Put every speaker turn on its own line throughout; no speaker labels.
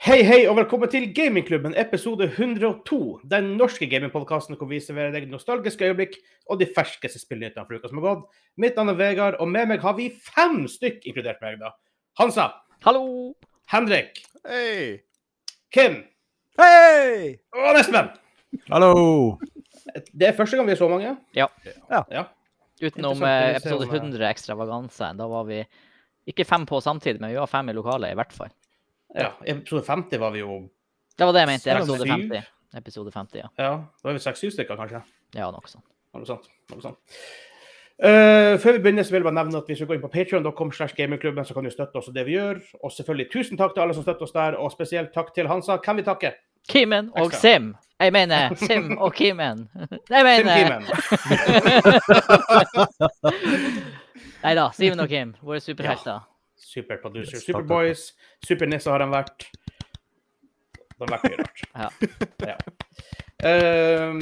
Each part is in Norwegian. Hei, hei, og velkommen til Gamingklubben, episode 102. Den norske gamingpodkasten hvor vi serverer deg nostalgiske øyeblikk og de ferskeste spillnyhetene fra uka som har gått. Mitt navn er Vegard, og med meg har vi fem stykk, inkludert meg, da. Hansa,
Hallo!
Henrik,
Hei!
Kim
Hei!
og Espen.
Hallo!
Det er første gang vi er så mange.
Ja.
Ja.
ja.
Utenom
Interessant
eh,
å se
episode
om, eh,
100 Ekstravaganse. Da var vi ikke fem på samtidig, men vi var fem i lokalet, i hvert fall.
ja. I episode 50 var vi jo
Det var det jeg mente.
Seks,
Episode
syv?
50. Episode 50, ja.
Ja, da var vi seks-syv stykker, kanskje.
Ja, sånn. noe sånt.
Noe sånt. Noe sånt. Eh, før vi begynner, så vil jeg bare nevne at hvis du går inn på patreon.com slash gamingklubben, så kan du støtte oss og det vi gjør. Og selvfølgelig tusen takk til alle som støtter oss der, og spesielt takk til Hansa. Kan vi takke?
Kimen og
Ekstra.
Sim. Jeg mener Sim og Kimen. Jeg
Tim
mener
Kimen.
Nei da, Simen og Kim, våre superhelter.
Superproducer.
Yes, takk,
Superboys. Supernisse E har han vært. Det har vært mye rart.
Ja.
Ja. Eh,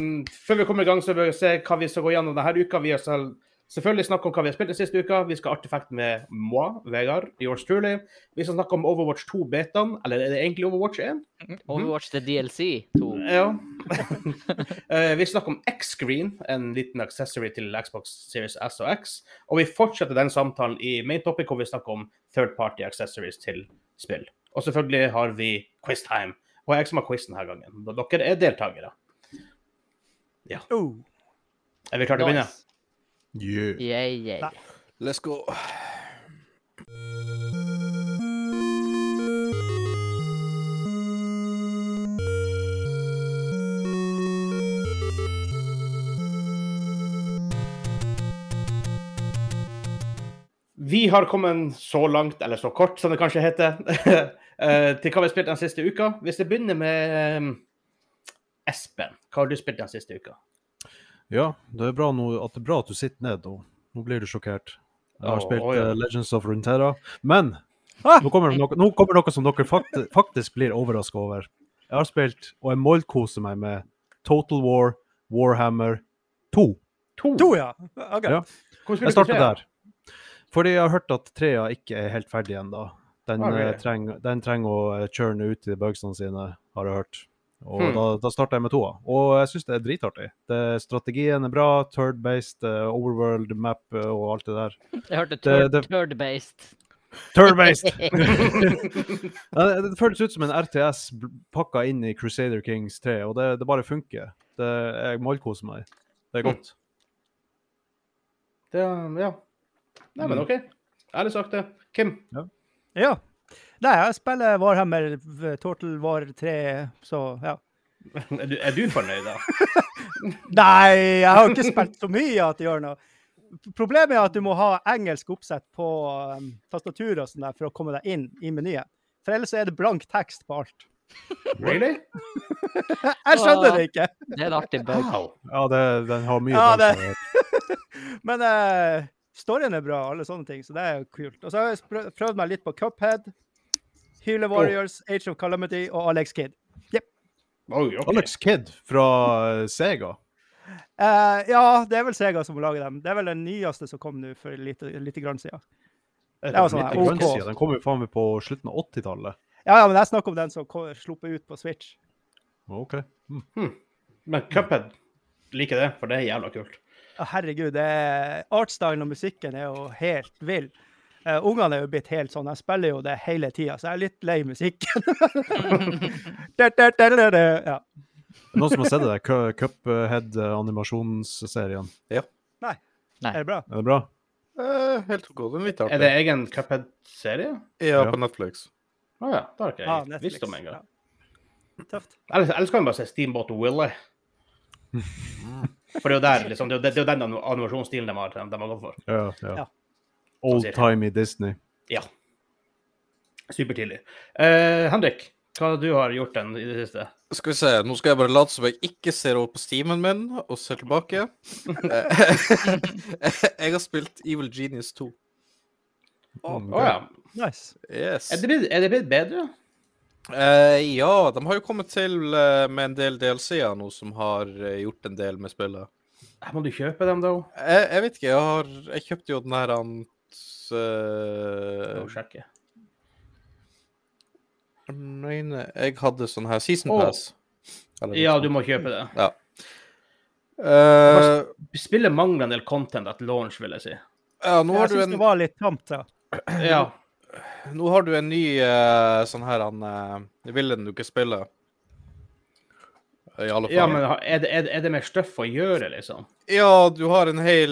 før vi kommer i gang, så vil vi se hva vi skal gå gjennom denne uka. Vi har selv, selvfølgelig snakket om hva vi har spilt den siste uka. Vi skal ha artefakt med moi, Vegard, yours truly. Vi skal snakke om Overwatch 2-betaen. Eller er det egentlig Overwatch 1?
Overwatch the DLC 2.
Ja. Eh, vi snakker om X-Screen, en liten accessory til Xbox Series S og X. Og vi fortsetter den samtalen i main topic, hvor vi snakker om third party accessories til spill. Og selvfølgelig har vi quiztime. Og jeg som har quiz denne gangen. Og dere er deltakere.
Oh.
Er vi klare til å begynne?
Nice. Yeah, yeah.
Let's go.
Vi har kommet så langt, eller så kort som det kanskje heter, eh, til hva vi har spilt den siste uka. Hvis jeg begynner med eh, Espen, hva har du spilt den siste uka?
Ja, det er bra, nå, at det er bra at du sitter ned nå. Nå blir du sjokkert. Jeg har
Å,
spilt
å, ja.
eh, Legends of Runeterra, men
Ah!
nå kommer det noe, nå kommer noe som dere fakti, faktisk blir overraska over. Jeg har spilt, og jeg målkoser meg med Total War Warhammer 2.
To.
To, ja. Ok.
Ja.
Hvordan
Jeg
spilte du
starter
tre?
der. Fordi jeg har hørt at trea ikke er helt ferdig ennå. Den,
Ah, really?
eh, treng- den trenger å eh, churne ut i bugsene sine, har jeg hørt. Og
Hmm.
da, da starter jeg med toa. Og jeg syns det er dritartig. Det, strategien er bra, third-based, eh, overworld map eh, og alt det der.
Jeg hørte
Det-
turd-
det-
turd-based.
Third-based! Ja, det, det føles ut som en RTS bl- pakka inn i Crusader Kings 3, og det, det bare funker. Det, jeg målkoser meg. Det er
Hmm.
godt.
Det, ja. Nei, men
Mm.
OK. Ærlig sagt, det. Kim?
ja. Nei, jeg spiller Warhammer v- Total War 3, så ja.
Er du, er du fornøyd, da?
Nei, jeg har ikke spilt så mye at det gjør noe. Problemet er at du må ha engelsk oppsett på um, tastaturet og sånn der for å komme deg inn i menyen. For ellers er det blank tekst på alt.
Really?
Jeg skjønner det ikke.
Det er en artig bug.
Wow.
Ja, det, den har mye
Ja, det-
bugger.
Men eh, storyen er bra, alle sånne ting, så det er jo kult. Og så har jeg sprø- prøvd meg litt på Cuphead, Hyle Warriors, Age of Calamity og Alex Kidd.
Oi, ok.
Alex Kidd fra eh, Sega.
Eh, ja, det er vel Sega som lager dem. Det er vel den nyeste som kom nå for lite, lite grann siden.
Er
det var sånn
midt
her,
i
ok.
Grønnsida,
grønnsida?
Den kom jo faen meg på slutten av 80-tallet.
Ja, ja, men jeg snakker om den som ko- sluppet ut på Switch.
OK. Mm.
Men Cuphead liker det, for det er jævla kult.
Å, herregud, det er- artstylen og musikken er jo helt vill. Eh, Ungene er jo blitt helt sånn. Jeg spiller jo det hele tida, så jeg er litt lei musikken. Da, da, da, da, da. ja.
Noen som har sett det der Cu- Cuphead-animasjonsserien?
Er det bra?
Er det bra?
Eh, helt ok. Den er litt
Er
artig.
det egen Cuphead-serie?
Ja,
Ja.
på Netflix.
Å ja. Det har ikke jeg
Ah,
visst
Netflix.
om engang.
Ja. Tøft.
Ellers, ellers kan vi bare se Steamboat Willy. For det er jo der, liksom, det er jo- det er jo den anim- animasjonsstilen de har, de har gått for.
Ja.
Ja.
ja. Old-timey Disney.
Ja. Supertidlig. Eh, Henrik, hva du har gjort den i det siste?
Skal vi se, nå skal jeg bare late som jeg ikke ser over på steamen min, og ser tilbake. Eh, jeg har spilt Evil Genius 2.
Å
Mm,
ja.
Nice.
Yes.
Er det blitt- er det blitt bedre?
Eh, ja, de har jo kommet til eh, med en del DLC-er nå som har eh, gjort en del med spillet.
Eh, Må du kjøpe dem, da?
Jeg, jeg vet ikke, jeg har Jeg kjøpte jo den her
Oh,
han s- eh,
Må sjekke.
Den ene Jeg hadde sånn her Season
Åh.
Pass. Eller noe
Ja,
sånt.
du må kjøpe det.
Eh,
Spillet mangler en del content at launch, vil jeg si.
ja, nå
Jeg
har du
syns
en
det var litt tamt, da.
Ja.
Nå har du en ny eh, sånn her han uh, Villen du ikke spiller. I alle fall.
Ja, men ha- er det, er, det- er det mer stuff å gjøre, liksom?
Ja, du har en hel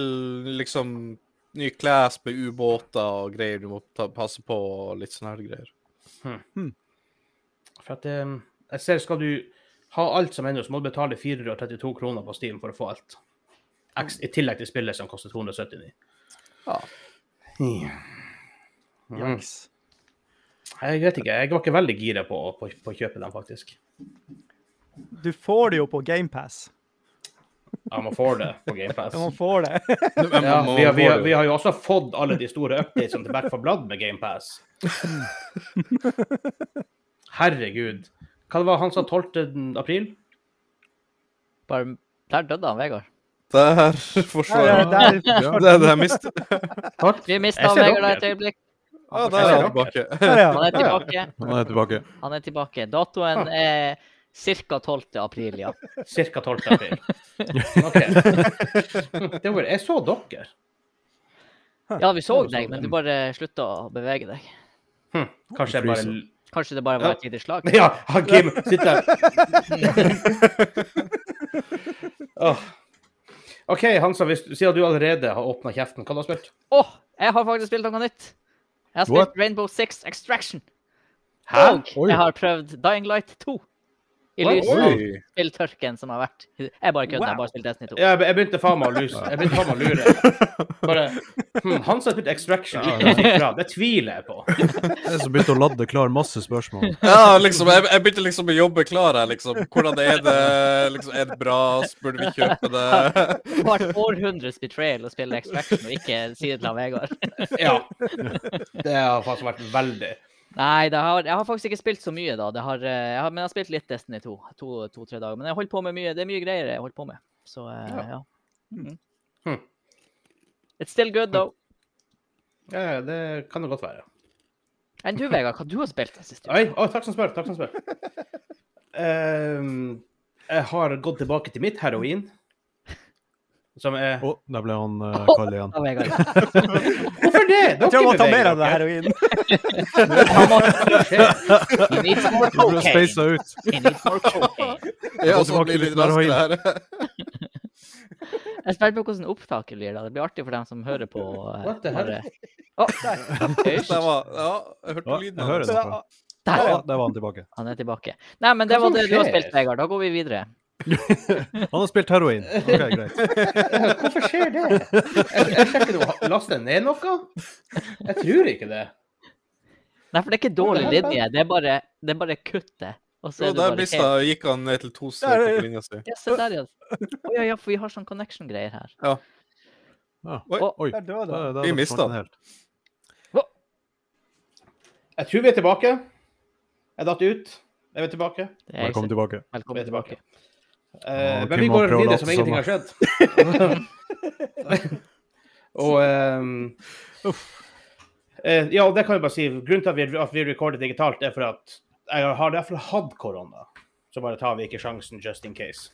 liksom ny class med ubåter og greier du må ta, passe på og litt sånne her greier.
For at eh, Jeg ser, skal du ha alt som ender, så må du betale 432 kroner på Steam for å få alt. Eks- I tillegg til spillet som koster 279.
Ja.
Mm.
Yikes.
Jeg vet ikke. Jeg var ikke veldig gira på, på, på å kjøpe den, faktisk.
Du får det jo på GamePass.
Ja, man får det på GamePass.
Man får det.
Ja, vi, har, vi, har, vi har jo også fått alle de store updatesene til Back for Blood med GamePass. Herregud. Hva det var han sa 12. april?
Bare, der døde han, Vegard.
Der
Der,
forsvant
er-
jeg.
der,
Ja, det er det jeg mistet.
Vi mista
Jeg ser
Vegard
dere.
et øyeblikk.
Ja, der er jeg
Rocket.
tilbake.
der, ja.
Han er
Ja, ja.
tilbake.
Nå er jeg tilbake.
Han er tilbake. Datoen er ca. 12. april, ja.
Cirka 12. april. Ok. Det var, jeg så dere.
Ja, vi så deg, men du bare slutta å bevege deg.
Hm, kanskje jeg bare
Kanskje det bare var et lite slag?
Ja, han Kim sitter der. Åh. OK, Hansa, hvis, siden du allerede har åpna kjeften, hva har du spilt?
Åh, jeg har faktisk spilt noe nytt. Jeg har spilt
What?
Rainbow Six Extraction.
Hæ?
Og
Oi.
jeg har prøvd Dying Light 2. I
What?
lys av
Oi.
spilltørken som har vært. Jeg bare kødder, jeg har bare spilt Destiny 2.
Jeg, jeg begynte faen meg å luse. Jeg begynte faen meg å lure. Bare, hm, han som har spilt Extraction uten å si fra, det tviler jeg på.
Jeg som begynte å ladde klar masse spørsmål.
Ja, liksom, jeg, jeg begynte liksom å jobbe klar her, liksom. Hvordan er det? Liksom, er det bra? Burde vi kjøpe det?
Det var et århundres betrayal å spille Extraction og ikke si det til han Vegard.
Ja. Det har faktisk vært veldig
Nei, det har, jeg har faktisk ikke spilt så mye, da. Det har, eh, jeg har, men jeg har spilt litt Destiny 2. To-tre dager. Men jeg holder på med mye. Det er mye greier jeg holder på med. Så eh, ja. Mhm.
Hm.
It's still good, though.
ja, Det kan det godt være.
Enn du, Vegard, hva du har spilt den siste uka?
Oi, å, takk som spør. Takk som spør. Ehm, jeg har gått tilbake til mitt heroin. Som er
Å, der ble han uh, kald igjen.
Ja, Vegard.
Hvorfor det?
Jeg tror jeg må ta mer av det heroin.
He needs more
Du ble
cocaine.
speisa ut.
He needs more cocaine.
Ja,
Gå
så
tilbake
blir det
litt
litt vanskelig her.
Jeg er spent på hvordan opptaket blir. da. Det blir artig for dem som hører på. eh,
What the
bare-
hell?
Å,
Det
hysj,
var, ja, jeg hørte
Ja,
lyden.
jeg
av
hører
det.
det.
Så-
der,
Ja, der var han tilbake.
han er tilbake. Nei, men det
Hva
var
som
det du har
skjer?
spilt, Vegard. Da går vi videre.
Han har spilt heroin. Ok, greit.
Hvorfor skjer det? Jeg, jeg sjekker nå. Laster jeg ned noe? Jeg tror ikke det.
Nei, for det er ikke dårlig
Hva er det?
linje. Det er bare, det er bare kuttet. Og så
Jo,
er det
der
bare
mista,
helt-
gikk han ned til to
Der,
streker
ja.
på linja si.
Ja, se der, ja. Å ja, ja, for vi har sånn connection-greier her.
Ja.
Oi.
Oi.
Der døde
Da,
han.
da
Vi
forsvant
mistet
den
den.
helt.
Jeg tror vi er tilbake. Jeg datt ut. Jeg er tilbake.
Det er ikke-
Velkommen tilbake.
Vi
Velkommen
er tilbake.
tilbake.
Eh,
Å,
men vi
Kim
går
har prøvd å
videre
late
som ingenting har skjedd. og ehm, eh, Ja, og det kan jeg bare si. Grunnen til at vi, at vi recorder digitalt, er for at jeg har i hvert fall hatt korona. Så bare tar vi ikke sjansen just in case.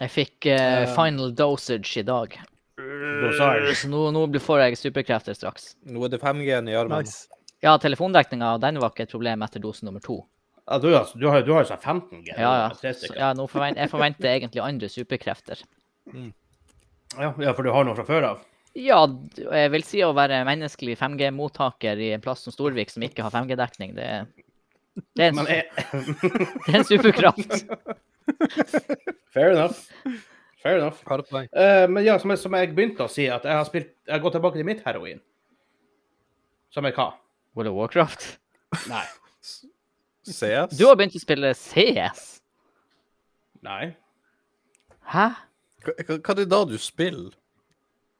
Jeg fikk eh, final dosage i dag,
Dosage.
så nå, nå blir- får jeg superkrefter straks.
Nå er det 5G-en i armen.
Nice.
Ja, telefondekninga den var ikke et problem etter dose nummer to.
Ja, du, altså, du, har, du har jo sånn 15 G.
Ja, ja.
Tre
Så,
stykker.
ja nå forvent, jeg forventer egentlig andre superkrefter.
Ja, ja, for du har noe fra før av?
Ja, d- jeg vil si å være menneskelig 5G-mottaker i en plass som Storvik som ikke har 5G-dekning, det, det, er en-
Men
det
jeg,
er en superkraft.
fair enough. Fair enough.
Har du poeng?
Eh, men ja, som jeg, som jeg begynte å si, at jeg har, spilt, jeg har gått tilbake til mitt heroin. Som er hva?
World of Warcraft.
Nei.
CS?
Du har begynt å spille CS.
Nei.
Hæ?
Hva, hva- hva er det da du spiller?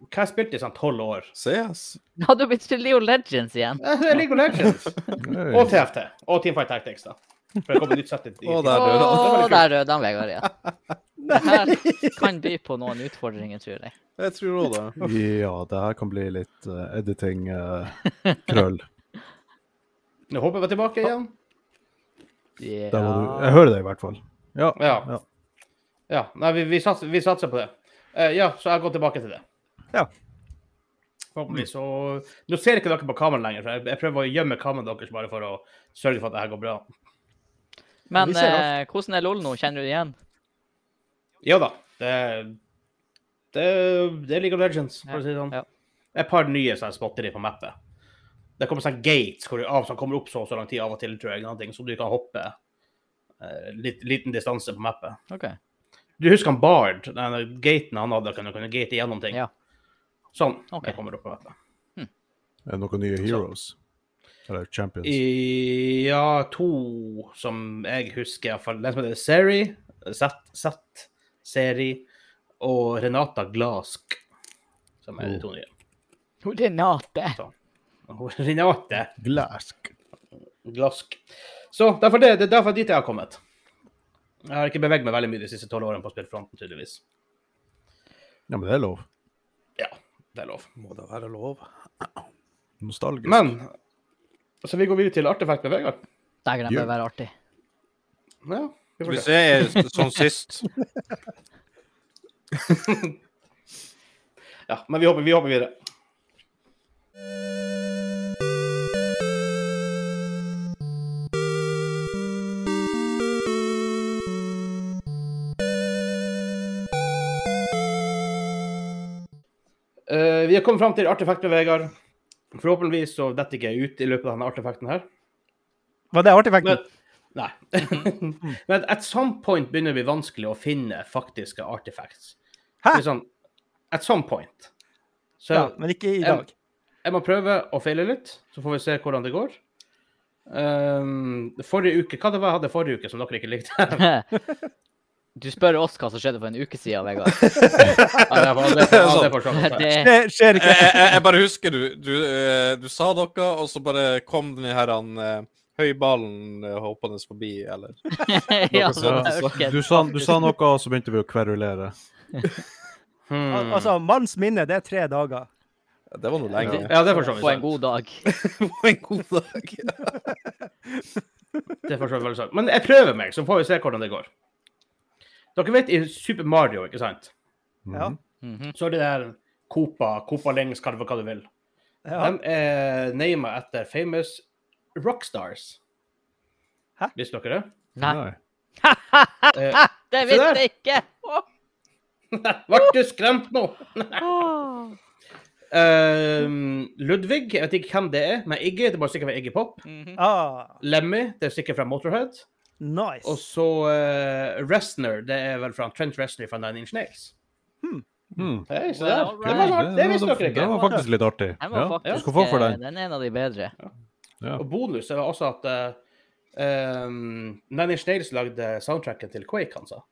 Hva jeg spilte i sånn tolv år?
CS?
Nå har du begynt å spille Leo Legends igjen.
Eh, League of Legends.
Oi.
Og TFT. Og Teamfight Tactics, da. For det kommer nytt sett i
Å,
i-
Der døde han.
Åh,
Det var litt
der døde han, Vegard. Ja. Det her kan by på noen utfordringer, tror jeg.
Jeg tror òg det.
Ja, det her kan bli litt eh, editing-krøll.
Nå håper jeg vi er tilbake igjen.
Ja.
Der var du. Jeg hører det i hvert fall. Ja.
Ja.
Ja.
ja. Nei, vi, vi, satser, vi satser på det. Eh, ja, så jeg går tilbake til det.
Ja.
Forhåpentligvis så Nå ser ikke dere på kameraet lenger, så jeg, jeg prøver å gjemme kameraet deres bare for å sørge for at det her går bra.
Men
Vi ser
eh, hvordan er LOL nå? Kjenner du det igjen?
Jo da. Det, det, det er League of Legends, for å si det sånn.
Ja.
Et par nye som jeg spotter i på mappet. Det kommer sånn gates hvor du av, som kommer opp så og så lang tid av og til, tror jeg, noen ting, så du kan hoppe eh, litt, liten distanse på mappet.
OK.
Du husker han Bard, den gaten han hadde, kan du kunne gate igjennom ting.
Ja.
Sånn.
Ok.
Jeg kommer opp på mappet.
Er det noen nye heroes? Eller champions?
I, ja, to som jeg husker, iallfall. Den som heter Seri, Zett, Zett, Seri, og Renata Glask, som er de to nye.
Renate.
Renate
Glask.
Glask. Så derfor det, det er derfor dit jeg har kommet. Jeg har ikke beveget meg veldig mye de siste tolv årene på spillfronten, tydeligvis.
Ja, men det er lov.
Ja, det er lov.
Må det være lov?
Nostalgisk.
Men Så vi går videre til artefakt med Vegard.
Dægeren, det bør
Gjør-
være artig.
Ja, vi får
Hvis
se.
jeg er sånn sist
ja men vi hopper, vi hopper videre. Eh, vi har kommet fram til artefakt med Vegard. Forhåpentligvis så detter ikke jeg ut i løpet av denne artefakten her.
Var det artefekten?
Men, nei. Men at some point begynner det å bli vanskelig å finne faktiske artifacts.
Hæ?
Det er Sånn, at some point. Så
Ja, men ikke i dag.
jeg må prøve å feile litt, så får vi se hvordan det går. Ehm, forrige uke, Hva det var jeg hadde forrige uke som dere ikke likte? ja,
Du spør oss hva som skjedde for en uke siden, Vegard.
det var, det, var- ja, det var sånn.
Det,
Det skjer
Jeg,
ikke.
jeg, jeg bare husker du, du, eh, du sa noe, og så bare kom den her han, eh, høyballen eh, hoppende forbi, eller
ja,
Så, du, sa, du sa noe, og så begynte vi å kverulere.
Al-
Hmm.
Altså, manns minne, det er tre dager.
Ja, Det var noe lenge.
Ja, det er for så vidt
På en
sant.
god dag.
På en god dag.
Det er for så vidt veldig sant. Men jeg prøver meg, så får vi se hvordan det går. Dere vet i Super Mario, ikke sant?
Mhm.
Ja.
Mhm.
Mm. Så er det der Copa, Copa Lengs, kall det hva du vil.
Ja.
De er name etter famous rockstars.
Hæ?
Visste dere det?
Nei.
Nei.
Eh,
Det
Se
visste
der.
jeg ikke!
Ble du skremt nå?
Åh.
Eh, Ludvig, jeg vet ikke hvem det er, men Iggy, det er bare sikkert fra Iggy Pop.
Mhm.
Ah,
Lemmy, det er sikkert fra Motorhead. Og
nice.
så Restner, det er vel fra Trent Restner fra Nine Inch Nails.
Mhm.
Hei, se der.
Well,
Det, var,
alright.
rart. det visste dere
Det
ikke.
var faktisk litt artig.
Den var
Ja. Du
faktisk
skal få for
eh,
den.
Den er en av de bedre.
Ja.
Og bonus er også at eh, eh, Nine Inch Nails lagde soundtracken til Quake, han sa.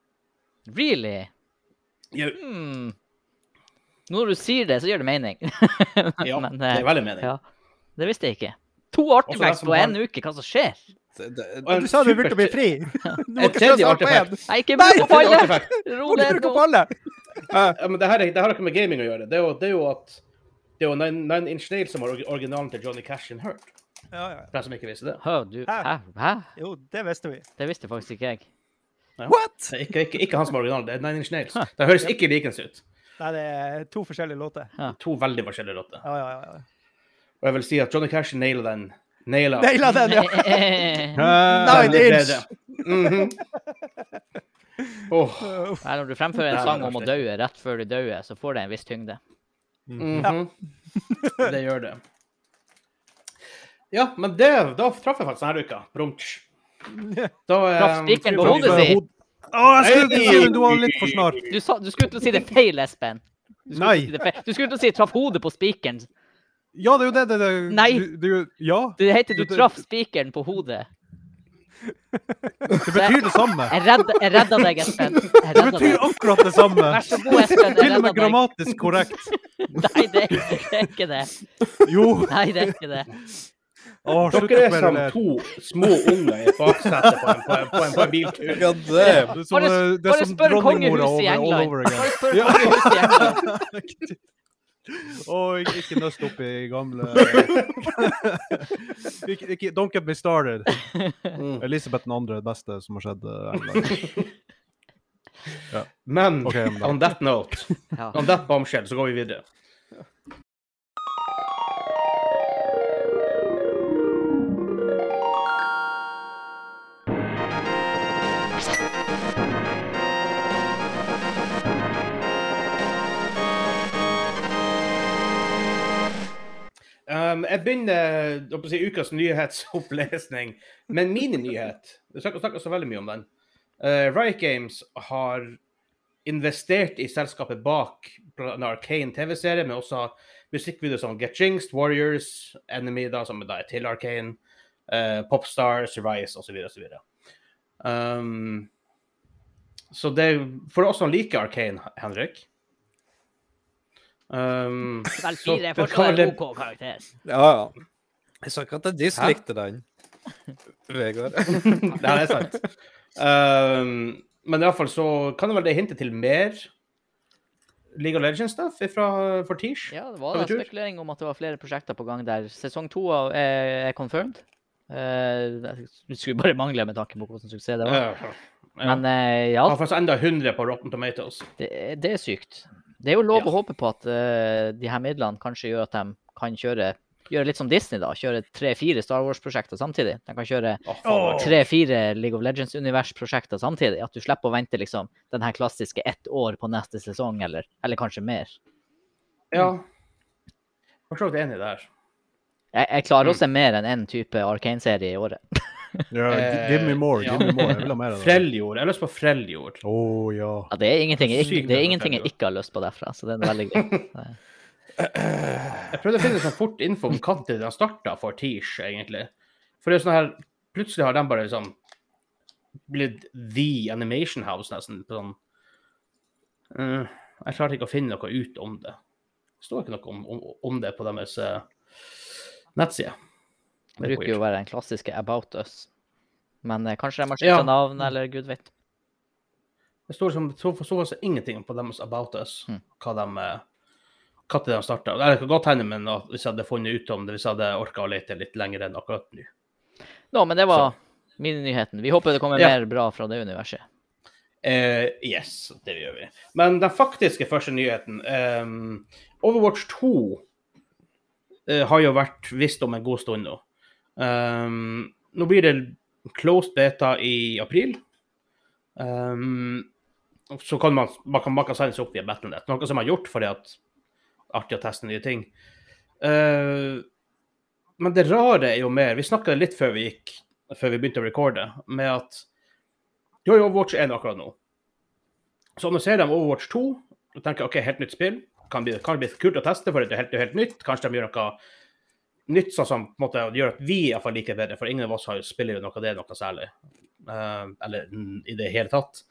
Really?
Ja,
Hmm. Når du sier det, så gjør det mening.
ja,
Men,
det
eh,
er veldig mening.
Ja, det visste jeg ikke. To
Også den
artifacts
som
på
har-
en uke, hva som skjer?
Det, det,
Og en
Du sa du
super-
begynte å bli fri. Du må
En
ikke
tredje
slå seg på
artefakt.
én.
Nei, ikke
Nei,
bruk opp alle!
Artefakt.
Ro
Må du
ned
bruke
nå.
opp alle?
Ja, men det her, er- det her har ikke med gaming å gjøre. Det er jo, det er jo at det er jo Nine, Nine Inch Nails som har orgi- originalen til Johnny Cash in Hurt.
Ja, ja.
For den som ikke visste det.
Hør, du,
Hæ?
hæ? hæ?
Jo, det visste vi.
Det visste faktisk ikke jeg.
What?!
Det er Ikke, ikke, ikke han som har originalen, det er Nine Inch Nails. Det høres ikke likens ut.
Nei, det er to forskjellige låter.
To veldig forskjellige låter.
Ja, ja, ja.
Og jeg vil si at Johnny Cash naila den. Naila
Naila den, ja!
Her
Eh,
Nine
Det ble
inch.
det. Mhm. Åh,
Uff.
Når du fremfører
Det er
en sang om å
artig.
dø rett før du dør, så får det en viss tyngde.
mhm. Det gjør det. Ja, men det, da traff jeg faktisk denne uka. Brumtsj. Da eh,
Traff spikeren på
tror vi-
hodet sitt.
Å, jeg skulle til å si det, du var litt for snar.
Du, sa, du skulle til å si det feil, Espen. Du skulle
Nei.
til å si det feil. Du skulle til å si 'traff hodet på spikeren'.
Ja, det er jo det. det, det.
Nei.
Du, det er jo- ja,
Det heter
Du-
'du traff spikeren på hodet'.
det betyr det samme.
Jeg redda, jeg redda deg, Espen. Jeg
Det
redda
betyr
deg.
akkurat det samme.
Vær så god, Espen. Jeg
Til og
redda
med
deg.
grammatisk korrekt.
Nei, det er ikke- det er ikke det.
Jo.
Nei, det er ikke det.
Å, slutt å
Dere er som
kverulere.
to små unger i et baksete på en, på en, på en, på en biltur.
God damn.
Det er som,
Bare,
eh, det er
bare
som
spør
dronningmora
kongehuset i
over all
England.
over again.
Bare spør kongehuset i England.
Og ikke- ikke nøst opp i gamle ikke, ikke, Don't get me started.
Mm.
Elisabeth den andre er det beste som har skjedd eh, England.
Men
Ok, men da.
on that note,
Ja.
on that bombshell, så går vi videre. Um, jeg begynner holdt på å si, ukas nyhetsopplesning med mininyhet. Vi snakker, snakker så veldig mye om den. Eh, Riot Games har investert i selskapet bak en Arcane TV-serie, men også musikkvideoer som Get Jinxed, Warriors, Enemy, da, som da er til Arcane, eh, Popstar, Survice osv. osv. Um, så det For oss som liker Arcane, Henrik um,
Vel,
så-
fire er fortsatt en OK karakter.
Ja, ja. Jeg sa ikke at jeg dislikte den. Vegard.
Ja, det er sant. Ehm, men i alle fall så kan det vel det hinte til mer League of Legends-stuff fra for Tish.
Ja, det var
Har
da
vi tur?
spekulering om at det var flere prosjekter på gang der. Sesong to av- er, er confirmed. Eh, Det skulle bare mangle med tanke på hvordan suksess det var.
Ja.
Men eh, ja,
Har faktisk enda 100 på Rotten Tomatoes.
det, er- det er sykt. Det er jo lov
Ja.
å håpe på at eh, de her midlene kanskje gjør at de kan kjøre Gjøre litt som Disney, da. Kjøre tre-fire Star Wars-prosjekter samtidig. De kan kjøre
Å, faen, det
tre-fire League of Legends-univers-prosjekter samtidig. At du slipper å vente liksom den her klassiske ett år på neste sesong, eller, eller kanskje mer.
var- Ja. For så vidt enig der.
Jeg, jeg
Mm.
klarer å se mer enn én type Arcane-serie i året.
Eh, Ja,
Eh,
gi- give me more. give me more. Jeg vil ha mer av det.
Freljord. Jeg har lyst på Freljord.
Å ja.
Ja, det er ingenting, jeg-
Sykt
det
bra
er ingenting jeg
fortelling,
ikke har lyst på derfra, så det er veldig greit.
Jeg prøvde å finne sånn fort info om når den starta for Tish, egentlig. For det er sånn her Plutselig har den bare liksom blitt The Animation House, nesten. på Sånn. Mm, jeg klarte ikke å finne noe ut om det. Det står ikke noe om, om, om det på deres eh, nettside. Det er
bruker jo å være den klassiske About Us. Men eh, kanskje de har skifta
Ja.
navn, eller gud vet.
Det står liksom så, så, så ingenting på deres About Us,
Mm.
hva de eh, hva tid de starta. Det kan godt hende, men at hvis jeg hadde funnet ut om det, hvis jeg hadde orka å lete litt lenger enn akkurat nå.
Nå, men det var mininyheten. Vi håper det kommer
Ja.
mer bra fra det universet.
Eh, yes, det gjør vi. Men den faktiske første nyheten ehm, Overwatch 2 eh, har jo vært visst om en god stund nå. Ehm, nå blir det closed beta i april. Ehm, så kan man, man kan, man kan signe seg opp via Battlenet, noe som jeg har gjort fordi at artig å teste nye ting. Eh, men det rare er jo mer Vi snakka litt før vi gikk, før vi begynte å recorde, med at du har jo Overwatch 1 akkurat nå. Så nå ser de Overwatch 2 og tenker OK, helt nytt spill. Kan bli, kan bli kult å teste, for det er helt, det er helt nytt. Kanskje de gjør noe nytt sånn som på en måte, gjør at vi i hvert fall liker det bedre, for ingen av oss har, spiller jo noe av det noe særlig. Eh, eller mm, i det hele tatt.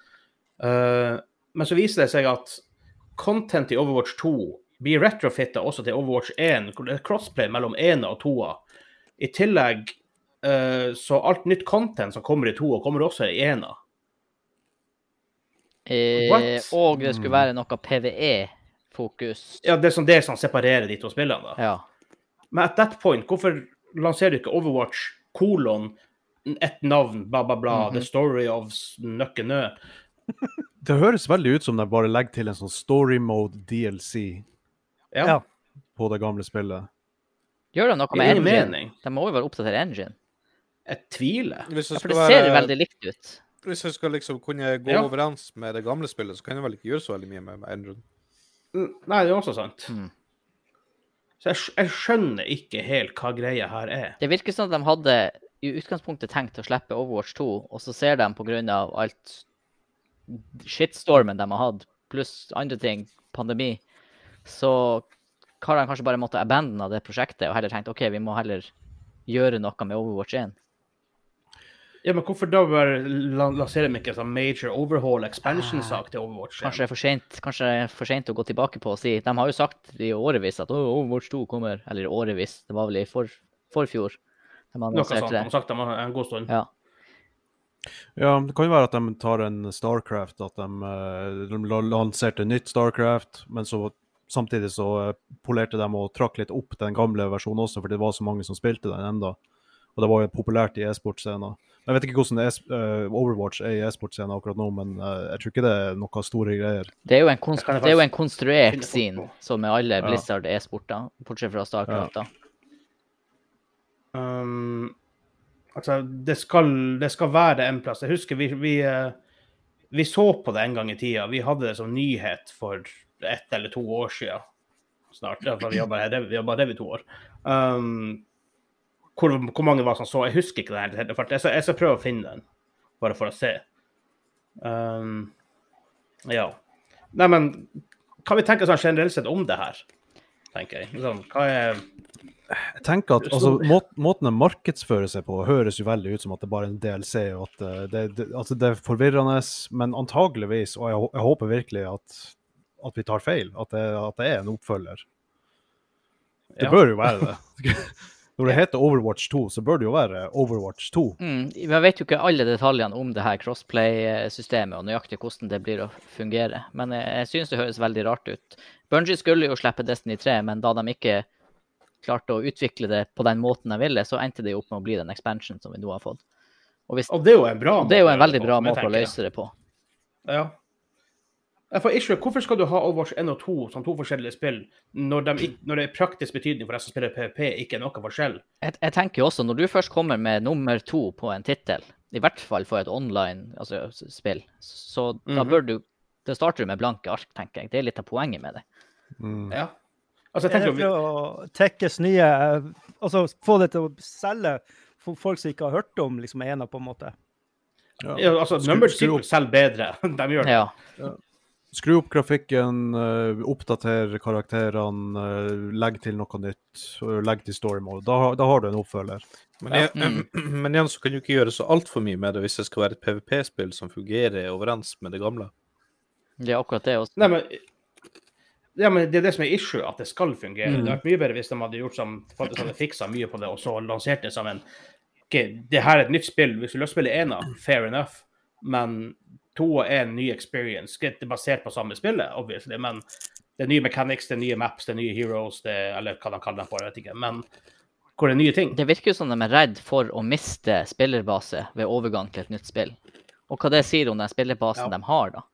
Eh, men så viser det seg at content i Overwatch 2 blir retrofitta også til Overwatch 1. hvor det er Crossplay mellom 1 og 2. I tillegg eh, så alt nytt content som kommer i 2, kommer også i 1.
Eh,
What?
og det skulle være noe PVE-fokus.
Ja, det er sånn det som separerer de to spillene. da.
Ja.
Men at that point, hvorfor lanserer du ikke Overwatch kolon ett navn, bla, bla, bla,
Mhm.
The Story of Nøkkenø?
Det høres veldig ut som de bare legger til en sånn story mode DLC
Ja,
Ja.
på det gamle spillet.
Gjør de noe
det
med
gir
engine?
mening.
De må jo vel oppdatere engine?
Jeg tviler.
Hvis
Ja,
det
for det
skal,
ser
være,
veldig likt ut.
hvis det skal liksom kunne gå
Ja.
overens med det gamle spillet, så kan jeg vel ikke gjøre så veldig mye med med Endron.
Mm, Nei, det er også sant.
Mm.
Så jeg, skj- jeg skjønner ikke helt hva greia her er.
Det virker som at de hadde i utgangspunktet tenkt å slippe Overwatch 2, og så ser de pga. alt shitstormen de har hatt, pluss andre ting, pandemi, så har de kanskje bare måttet abandone det prosjektet og heller tenkt OK, vi må heller gjøre noe med Overwatch 1.
Ja, Men hvorfor da bare la- lanserer de ikke en sånn major overhaul expansion-sak til Overwatch? igjen?
Ah, Kanskje det er for sent, kanskje det er for sent å gå tilbake på og si De har jo sagt i årevis at «Å, Overwatch 2 kommer, eller i årevis, det var vel i for, forfjor. De
Noe sånt.
annonserte
De har
det.
sagt det en god stund.
Ja.
Ja, det kan jo være at de tar en Starcraft, at de, eh, de la- lanserte nytt Starcraft, men så samtidig så eh, polerte de og trakk litt opp den gamle versjonen også, for det var så mange som spilte den enda. Og det var jo populært i e-sportscenen. Jeg vet ikke hvordan es eh, Overwatch er i e-sportscenen akkurat nå, men eh, jeg tror ikke det er noen store greier.
Det er jo en, konst-
Det kan jeg
det er jo en
finne
konstruert
fort
scene,
på.
som med alle
Ja.
Blizzard e-sporter, bortsett fra Starcraft. da.
Um, altså, det skal, det skal være en plass. Jeg husker vi, vi, eh, vi så på det en gang i tida. Vi hadde det som nyhet for ett eller to år siden. Snart. i hvert fall, Vi jobba her vi jobbet her i to år. Um, hvor, hvor mange var som så? Jeg husker ikke det her. for Jeg skal, jeg skal prøve å finne den, bare for å se. Um, ja. Nei, men hva vi tenker sånn generelt sett om det her, tenker jeg. Sånn, hva er
Jeg tenker at
Det er
altså,
stor-
må, Måten de markedsfører seg på, høres jo veldig ut som at det bare er en DLC, og at eh, det, det, altså, det er forvirrende, men antageligvis, og jeg, hå- jeg håper virkelig at, at vi tar feil, at det, at det er en oppfølger. Det
Ja.
bør jo være det. Når det heter Overwatch 2, så bør det jo være Overwatch 2.
Mm, man vet jo ikke alle detaljene om det her crossplay-systemet og nøyaktig hvordan det blir å fungere, men jeg, jeg syns det høres veldig rart ut. Bungie skulle jo slippe Destiny 3, men da de ikke klarte å utvikle det på den måten de ville, så endte det jo opp med å bli den expansion som vi nå har fått. Og hvis,
Og det er jo en bra
det er jo en
gjøre
veldig
på,
bra
som jeg
måte å
tenker.
løse det på.
Ja. Jeg får ikke, hvorfor skal du ha Overwatch 1 og 2 som to forskjellige spill, når, de, ikk- når det i praktisk betydning for de som spiller PVP, ikke er noe forskjell?
Jeg, jeg tenker jo også, når du først kommer med nummer to på en tittel, i hvert fall for et online altså, s- spill, så da
Mhm.
bør du Da starter du med blanke ark, tenker jeg. Det er litt av poenget med det.
Mm.
Ja. Altså, jeg
Er det
tenker jo
for å tekkes nye eh, Altså få det til å selge for folk som ikke har hørt om liksom ena, på en måte?
Ja.
vi- ja, altså,
Skru-
Numbered
skru opp.
Secret selger bedre. De gjør det.
Ja.
Skru opp grafikken, eh, oppdater karakterene, eh, legg til noe nytt, eh, legg til story mode. Da, har- da har du en oppfølger.
Men, igjen- men igjen så kan du ikke gjøre så altfor mye med det hvis det skal være et PVP-spill som fungerer overens med det gamle.
Det er akkurat det. Også.
Nei, men, ja, men det er det som er issue, at det skal fungere. Det hadde vært mye bedre hvis de hadde gjort som faktisk hadde fiksa mye på det, og så lansert det som en OK, det her er et nytt spill. Hvis du vil spille ena, fair enough, men to er en ny experience. Det er basert på samme spillet, obviously, men det er nye mechanics, det er nye maps, det er nye heroes, det er, eller hva de kaller dem for, jeg vet ikke. Men hvor det er nye ting.
Det virker jo som de er redd for å miste spillerbase ved overgang til et nytt spill. Og hva det sier om den spillerbasen
Ja.
de har, da.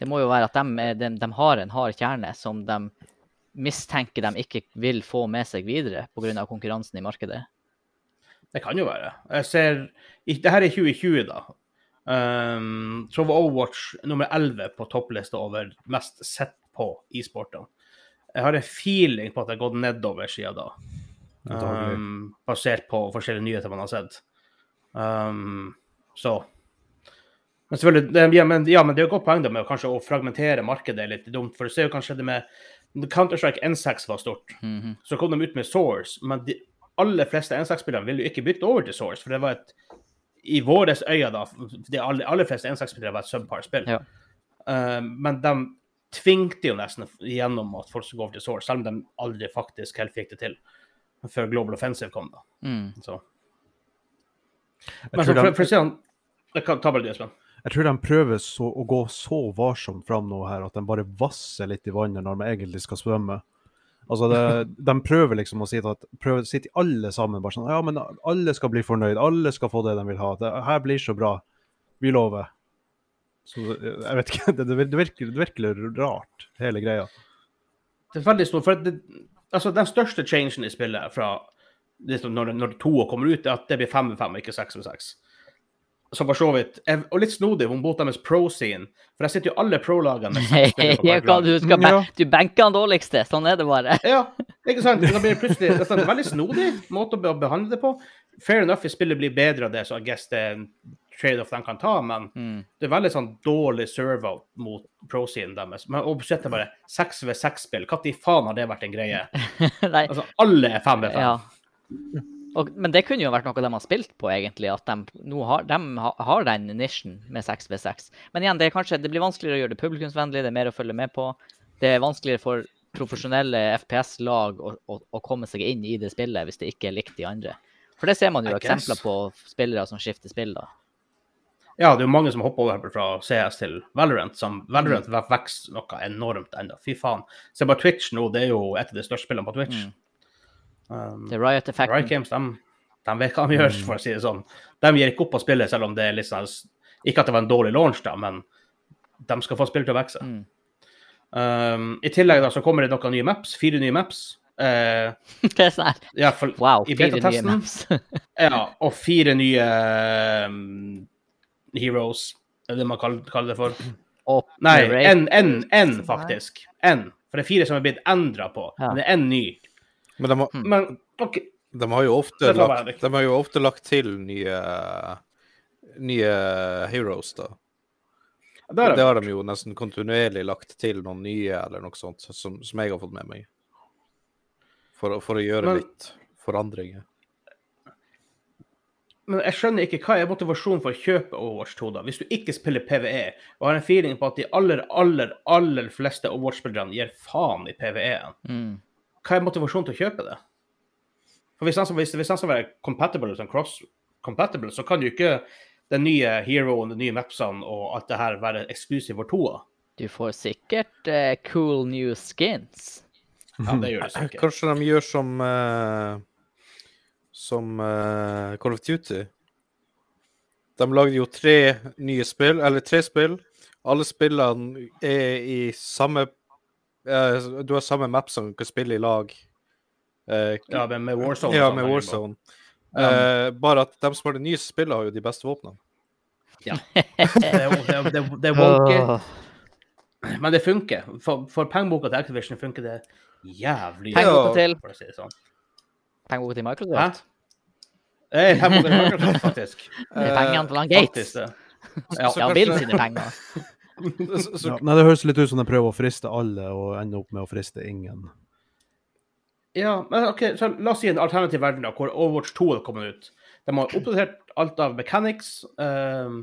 Det må jo være at de, er, de, de har en hard kjerne som de mistenker de ikke vil få med seg videre pga. konkurransen i markedet.
Det kan jo være. Jeg ser i- Det her er 2020, da. Um, så var Overwatch nummer 11 på topplista over mest sett på e-sportene. Jeg har en feeling på at det har gått nedover siden da.
Antagelig.
Um, basert på forskjellige nyheter man har sett. Um, så Men selvfølgelig, det, ja, men, ja, men det er jo et godt poeng det med å kanskje å fragmentere markedet er litt dumt. For du ser jo kanskje det med Counter-Strike N6 var stort.
Mhm.
Så kom de ut med Source, men de aller fleste N6-spillerne ville jo ikke bytte over til Source, for det var et I våre øyne, da, de aller, aller fleste N6-spillere var et subpar-spill.
Ja.
Eh, men de tvingte jo nesten gjennom at folk skulle gå over til Source, selv om de aldri faktisk helt fikk det til før Global Offensive kom, da.
Mm.
Så.
Jeg
Men
tror
så, for,
de-
for å si han Jeg kan ta bare det, Espen.
Jeg tror de prøver så, å gå så varsomt fram nå her at de bare vasser litt i vannet når de egentlig skal svømme. Altså, det, De prøver liksom å si at prøver, sitter alle sammen bare sånn Ja, men alle skal bli fornøyd. Alle skal få det de vil ha. Det her blir så bra. Vi lover. Så det- jeg vet ikke Det, det, vir- det, virker, det virker rart, hele greia.
Det er veldig stort. For at det, altså, den største changen i spillet fra liksom, når, når toa kommer ut, er at det blir fem med fem, og ikke seks med seks. Som for så vidt ev- Og litt snodig mot deres pro-scene. For der sitter jo alle pro-lagene. med seks spillere på
Ja,
hvert
hva,
lag.
du, skal ben
Ja.
du benker han dårligste. Sånn er det bare.
Ja, ikke sant? Da blir det plutselig det er en veldig snodig måte å be- behandle det på. Fair enough hvis spillet blir bedre av det, så I guess det er en trade-off de kan ta, men
Mm.
det er veldig sånn dårlig serve-out mot pro-scenen deres. Men å besette bare seks ved seks-spill, når faen har det vært en greie?
Nei,
Altså, alle er fem ved fem.
ja. Og, men det kunne jo vært noe de har spilt på, egentlig. At de nå har, de ha- har den nisjen med 6v6. Men igjen, det, er kanskje, det blir vanskeligere å gjøre det publikumsvennlig, det er mer å følge med på. Det er vanskeligere for profesjonelle FPS-lag å, å, å komme seg inn i det spillet hvis det ikke er likt de andre. For det ser man jo
I guess.
eksempler på f- spillere som skifter spill, da.
Ja, det er jo mange som hopper over fra CS til Valorant, som Valorant mm. vokser noe enormt ennå. Fy faen. Se på Twitch nå, det er jo et av de største spillene på Twitch.
Mm. Mm.
Um,
Det er Riot-effekten.
Riot Games, de, de vet hva de gjør, for å si det sånn. De gir ikke opp å spille, selv om det er litt sånn Ikke at det var en dårlig launch, da, men de skal få spillet til å vokse.
Mm.
Um, I tillegg da, så kommer det noen nye maps, fire nye maps. Eh,
Det er sånn her.
i hvert fall
Wow,
I
fire nye
betatesten.
maps.
Ja, og fire nye um, heroes, er det man kaller, kaller det for.
Og
Nei,
Raid.
en, en, en faktisk. En. For det er fire som er blitt endra på.
Ja.
Men det er en ny.
Men de, har-
Men OK,
de, har jo ofte
Det får være
lagt,
Henrik.
de har jo ofte lagt til nye Nye heroes, da.
der er
det
det.
har de jo nesten kontinuerlig lagt til noen nye, eller noe sånt, som, som jeg har fått med meg. For, å- for å gjøre
Men-
litt forandringer.
Men jeg skjønner ikke hva er motivasjonen for å kjøpe Overwatch 2, da, hvis du ikke spiller PVE, og har en feeling på at de aller, aller, aller fleste Overwatch-spillerne gir faen i PVE-en.
Mm.
hva er motivasjonen til å kjøpe det? For Hvis han skal, hvis, hvis han skal være compatible, sånn cross-compatible, så kan jo ikke den nye heroen, de nye mapsene og alt det her være eksklusiv for toa.
Du får sikkert eh, cool new skins.
Ja, det gjør det sikkert.
Kanskje de gjør som eh, Som eh, Call of Duty. De lagde jo tre nye spill, eller tre spill. Alle spillene er i samme eh, Du har samme map som du kan spille i lag. Eh,
Ja, men med Warzone.
ja,
og
med
sånn,
Warzone.
Ja.
Eh, bare at de som har det nye spillet, har jo de beste våpnene.
Det, er jo- det, er- det, er- det er wonky, men det funker. For, for pengeboka til Activision funker det jævlig
Pengeboka til-
for å si det sånn.
Pengeboka til
Hæ?
Microsoft.
Eh, pengeboka til Microsoft, faktisk.
Det er pengene til han
Eh, Faktisk
Gates.
det.
Ja,
Så
det er Bill
kanskje-
sine penger.
Eh, Så, så,
Ja, nei, det høres litt ut som de prøver å friste alle, og ender opp med å friste ingen.
Ja, men ok, så la oss si en alternativ verden da, hvor Overwatch 2 er kommet ut. De har oppdatert alt av mechanics. ehm,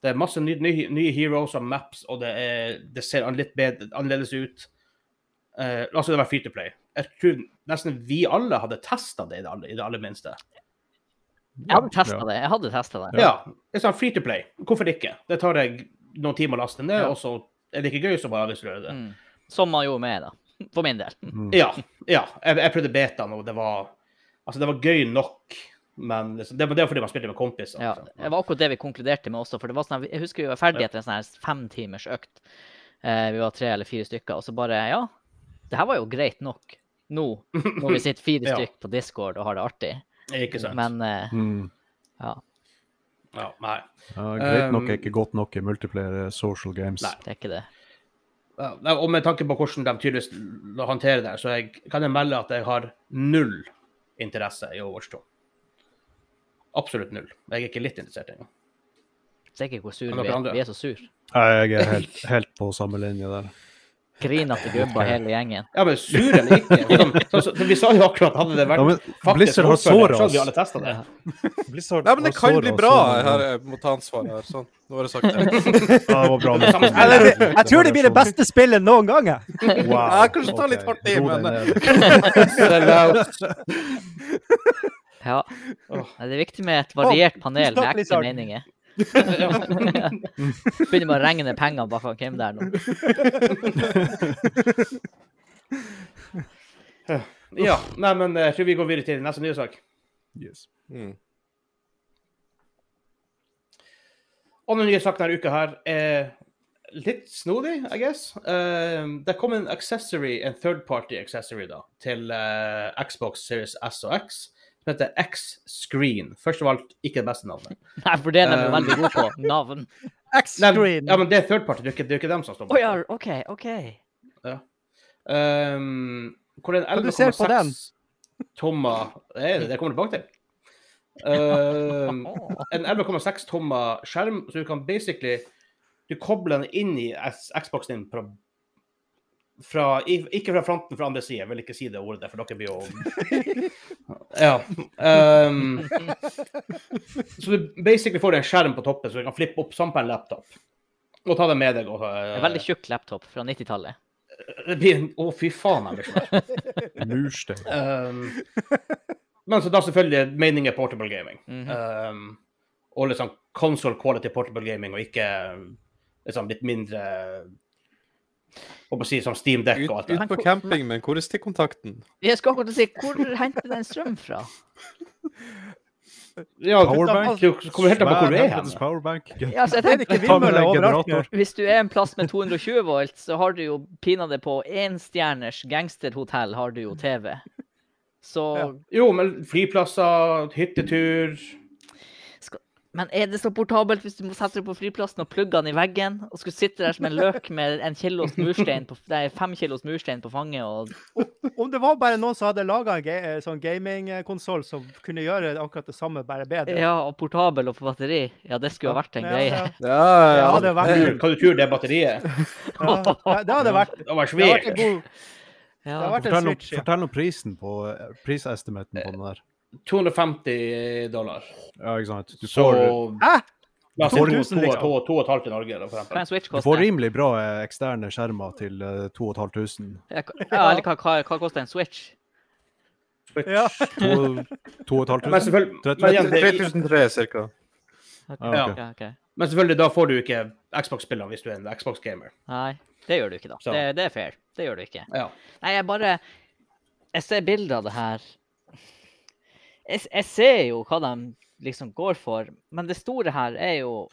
det er masse nye, nye, nye heroes og maps, og det, er, det ser an- litt bedre, annerledes ut. Eh, la oss si det var free to play. Jeg tror nesten vi alle hadde testa det i det aller, i det aller minste.
Jeg hadde testa det. Jeg hadde testet det.
Ja. det er sånn free to play. Hvorfor ikke? Det tar deg noen timer å laste ned,
Ja.
og så er det ikke gøy som bare hvis du gjør det.
Mm. Som man gjorde med, da. For min del.
Mm.
Ja. ja. Jeg, jeg prøvde betaen, og det var Altså, det var gøy nok, men liksom, det, var- det var fordi man spilte med kompiser.
Ja,
liksom.
det var akkurat det vi konkluderte med også. For det var sånn, her- jeg husker vi var ferdig etter en sånn her femtimers økt. Eh, vi var tre eller fire stykker, og så bare Ja, det her var jo greit nok nå, når vi sitter fire
Ja.
stykker på Discord og har det artig.
Ikke sant.
Men eh,
Mm.
ja,
Ja, nei.
Ja, greit nok
Um,
er ikke godt nok i multiplayer eh, social games.
Nei.
det er ikke det.
Ja, nei, Og med tanke på hvordan de tydeligvis l- håndterer det, så jeg, kan jeg melde at jeg har null interesse i Overwatch 2. Absolutt null. Jeg er ikke litt interessert engang.
Det er ikke hvor sur
Men dere
vi er.
andre?
Vi er så sur.
Nei, Jeg er helt, helt på samme linje der.
Griner til gubba hele gjengen.
Ja, men sur eller ikke? Sånn, så, så, vi sa jo akkurat hadde det vært
Ja, men
faktisk
Blizzard har
motspiller,
såret
så hadde vi
oss.
alle testet det.
Blizzard
Nei, men det
har
kan
såret
bli
oss
bra.
sånn,
Jeg
ja.
har jeg må ta ansvar her. Sånn, nå har jeg sagt det.
Ja, det var bra. sånn.
Det er samme
Eller,
spillet.
jeg tror det blir det beste spillet noen gang. jeg.
Wow.
Jeg kanskje tar litt
ok.
hardt i,
Ro deg
men-
ned.
Ja. Nei, Det er viktig med et
Å,
variert panel med
takk,
ekte
Lizard.
meninger. Begynner med å regne penger bak han Kim der nå.
Ja, nei, men eh, jeg tror vi går videre til neste nye sak.
Yes.
Mm.
Og den nye saken denne uka her er litt snodig, I guess. Eh, det kom en accessory, en third party accessory da, til eh, Xbox Series S og X, som heter X-Screen. Først av alt, ikke det beste navnet.
Nei, for det er de
Um.
jo veldig gode på. Navn.
Nei,
X-Screen.
ja, men det er third party, det er ikke, det er ikke dem som står
Å ja, OK, OK.
Um, hvor en
Hva du ser på den?
11,6 tommer det, det kommer jeg tilbake til. Um, en 11,6 tommer skjerm, så du kan basically Du kobler den inn i S- Xboxen din fra, fra i- Ikke fra fronten, fra andre sida. Jeg vil ikke si det ordet, for dere blir jo Ja. Um, så du basically får en skjerm på toppen, så du kan flippe opp som på en laptop. Og ta den med deg. Og, eh,
En veldig tjukk laptop fra 90-tallet.
det blir en Å, fy faen, jeg blir svær.
Murstein.
Ehm, Um, men så da selvfølgelig meningen er portable gaming.
Mhm.
um, og liksom console quality portable gaming, og ikke liksom litt mindre Hva skal jeg si, som Steam Deck
Ut,
og alt det
ut
der.
på camping, men hvor er stikkontakten?
Jeg skal akkurat si, hvor henter den strøm fra?
Ja,
Powerbank?
det kommer helt an på hvor du er
Svær helvetes
hen.
Powerbank.
Ja, altså, jeg
Er det
tenker,
ikke
Ta med
vindmøller
deg
overalt nå?
generator.
hvis du er en plass med 220 volt, så har du jo pinadø på énstjerners gangsterhotell har du jo TV. Så
Ja.
Jo, men flyplasser, hyttetur
Men er det så portabelt hvis du må sette deg på flyplassen og plugge den i veggen, og skulle sitte der som en løk med en kilos murstein på, nei, fem kilos murstein på fanget og
Om det var bare noen som hadde laga en ga sånn gamingkonsoll som kunne gjøre akkurat det samme, bare bedre.
Ja, og portabel og på batteri. Ja, det skulle ha vært en
Ja,
greie.
ja.
Ja, ja,
Det
ja.
hadde
Hva
vært,
du tror det er batteriet?
ja. Nei, det hadde
Det var
vært, det hadde vært
svært.
en god
Ja.
Det har vært en
Fortell om,
switch. ja.
fortell om prisen på eh, prisestimaten på den der.
250 dollar.
Ja, ikke sant. Du
Så
får,
Hæ?
ja,
2000
2000,
liksom.
liksom. 2,5 i Norge, da, for
Hva
eksempel.
en Switch
du får
koster?
rimelig bra eh, eksterne skjermer til eh, 2500.
Ja, ja, eller hva, hva, hva koster en Switch?
Ja.
To- to og et halvt
Men
tusen?
selvfølgelig,
Tre tusen.
men, igjen, det,
3003 cirka.
Ok,
Ja,
ok, ok.
men selvfølgelig, da får du ikke Xbox-spillene hvis du er en Xbox-gamer.
Nei, det gjør du ikke, da.
Så.
Det, det er fair. Det gjør du ikke.
Ja.
Nei, jeg bare Jeg ser bilder av det her. Jeg, s- jeg ser jo hva de liksom går for, men det store her er jo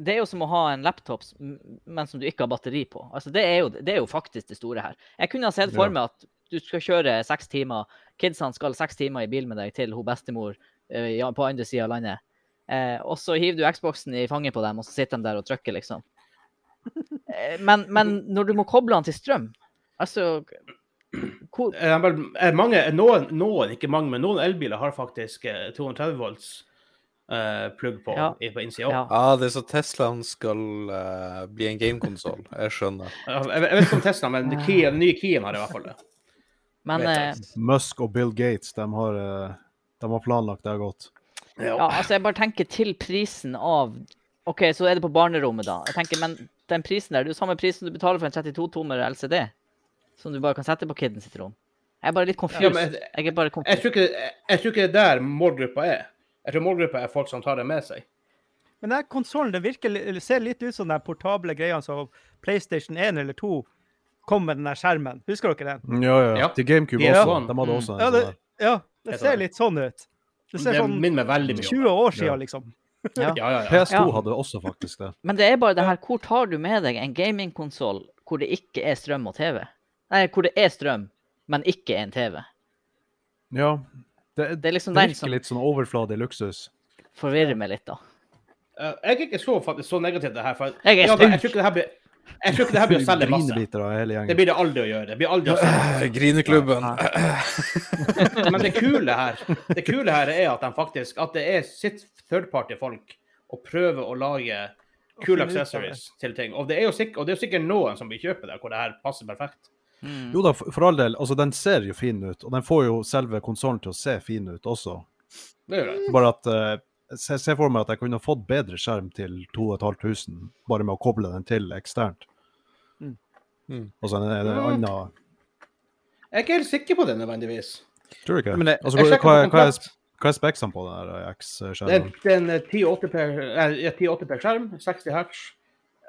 Det er jo som å ha en laptop s- m- men som du ikke har batteri på. Altså, det er jo, det er jo faktisk det store her. Jeg kunne ha sett for
Ja.
meg at du skal kjøre seks timer, kidsene skal seks timer i bil med deg til hun bestemor eh, ja, på andre sida av landet. Eh, og så hiver du Xboxen i fanget på dem, og så sitter de der og trykker, liksom. Eh, men, men når du må koble den til strøm Altså hvor,
Eh, men, eh, Mange, noen, noen, ikke mange, men noen elbiler har faktisk eh, 230 volts eh, plugg på,
Ja.
i- på innsida.
ja.
Ja, det er så Teslaen skal eh, bli en gamekonsoll. Jeg skjønner.
Jeg, jeg vet ikke om Tesla, men
Ah.
Kia, den nye Kien har i hvert fall det.
Men
Vet jeg
eh,
Musk og Bill Gates, de har, eh, de har planlagt det godt.
ja, altså jeg bare tenker til prisen av OK, så er det på barnerommet, da. Jeg tenker, Men den prisen der, det er jo samme prisen du betaler for en 32-tommer LCD, som du bare kan sette på kiden sitt rom. Jeg er bare litt confused.
Ja, men jeg-
jeg er bare
Jeg
confused.
tror ikke, jeg, jeg tror ikke det er der målgruppa er. Jeg tror målgruppa er folk som tar det med seg.
Men den konsollen den virker, li- eller ser litt ut som den portable greia som PlayStation 1 eller 2 kom med den der skjermen. Husker dere den?
Ja, ja.
Ja.
Til GameCube
Ja.
også. De hadde også en
Ja, det,
sånn der.
ja,
Jeg
det
tar
ser
den.
litt sånn ut. Det
Det
ser sånn
minner meg veldig mye
20
om det.
år
Ja.
siden, liksom.
Ja, ja, ja.
PS2
Ja.
hadde også faktisk det.
Men det er bare det her, hvor tar du med deg en gamingkonsoll hvor det ikke er strøm og TV? Nei, hvor det er strøm, men ikke en TV.
Ja. Det,
Det er liksom
det
den
virker
som-
litt sånn overfladig luksus.
Forvirrer meg litt, da.
Eh, Jeg er ikke så, faktisk, så negativ til det her. For
Jeg er
ja, men jeg
stum.
tror ikke det her blir, jeg tror ikke det her blir å selge masse.
Grinebiter av hele
Det
gjengen.
blir det aldri å gjøre. Det blir aldri å selge.
Grineklubben.
Men det kule her det kule her er at de faktisk, at det er sitt third-party-folk og prøver å lage kule
finne ut av
accessories til ting. Og det er jo sikkert, og det er jo sikkert noen som vil kjøpe det, hvor det her passer perfekt.
Jo da, for for all del. Altså, den ser jo fin ut, og den får jo selve konsollen til å se fin ut også.
Det gjør det.
Bare at eh, se, se for meg at jeg kunne fått bedre skjerm til 2500, bare med å koble den til eksternt.
Mm.
Mm.
Altså en, en, en
Mm.
annen
Jeg er ikke helt sikker på det nødvendigvis.
Tror du ikke?
Men det-
altså,
jeg
hva,
sjekker
hva,
på
hva, er,
kontrakt.
sp- hva er speksene på den her
Det er
X-skjermen?
det er en eh, 1080p-skjerm, 60 hertz,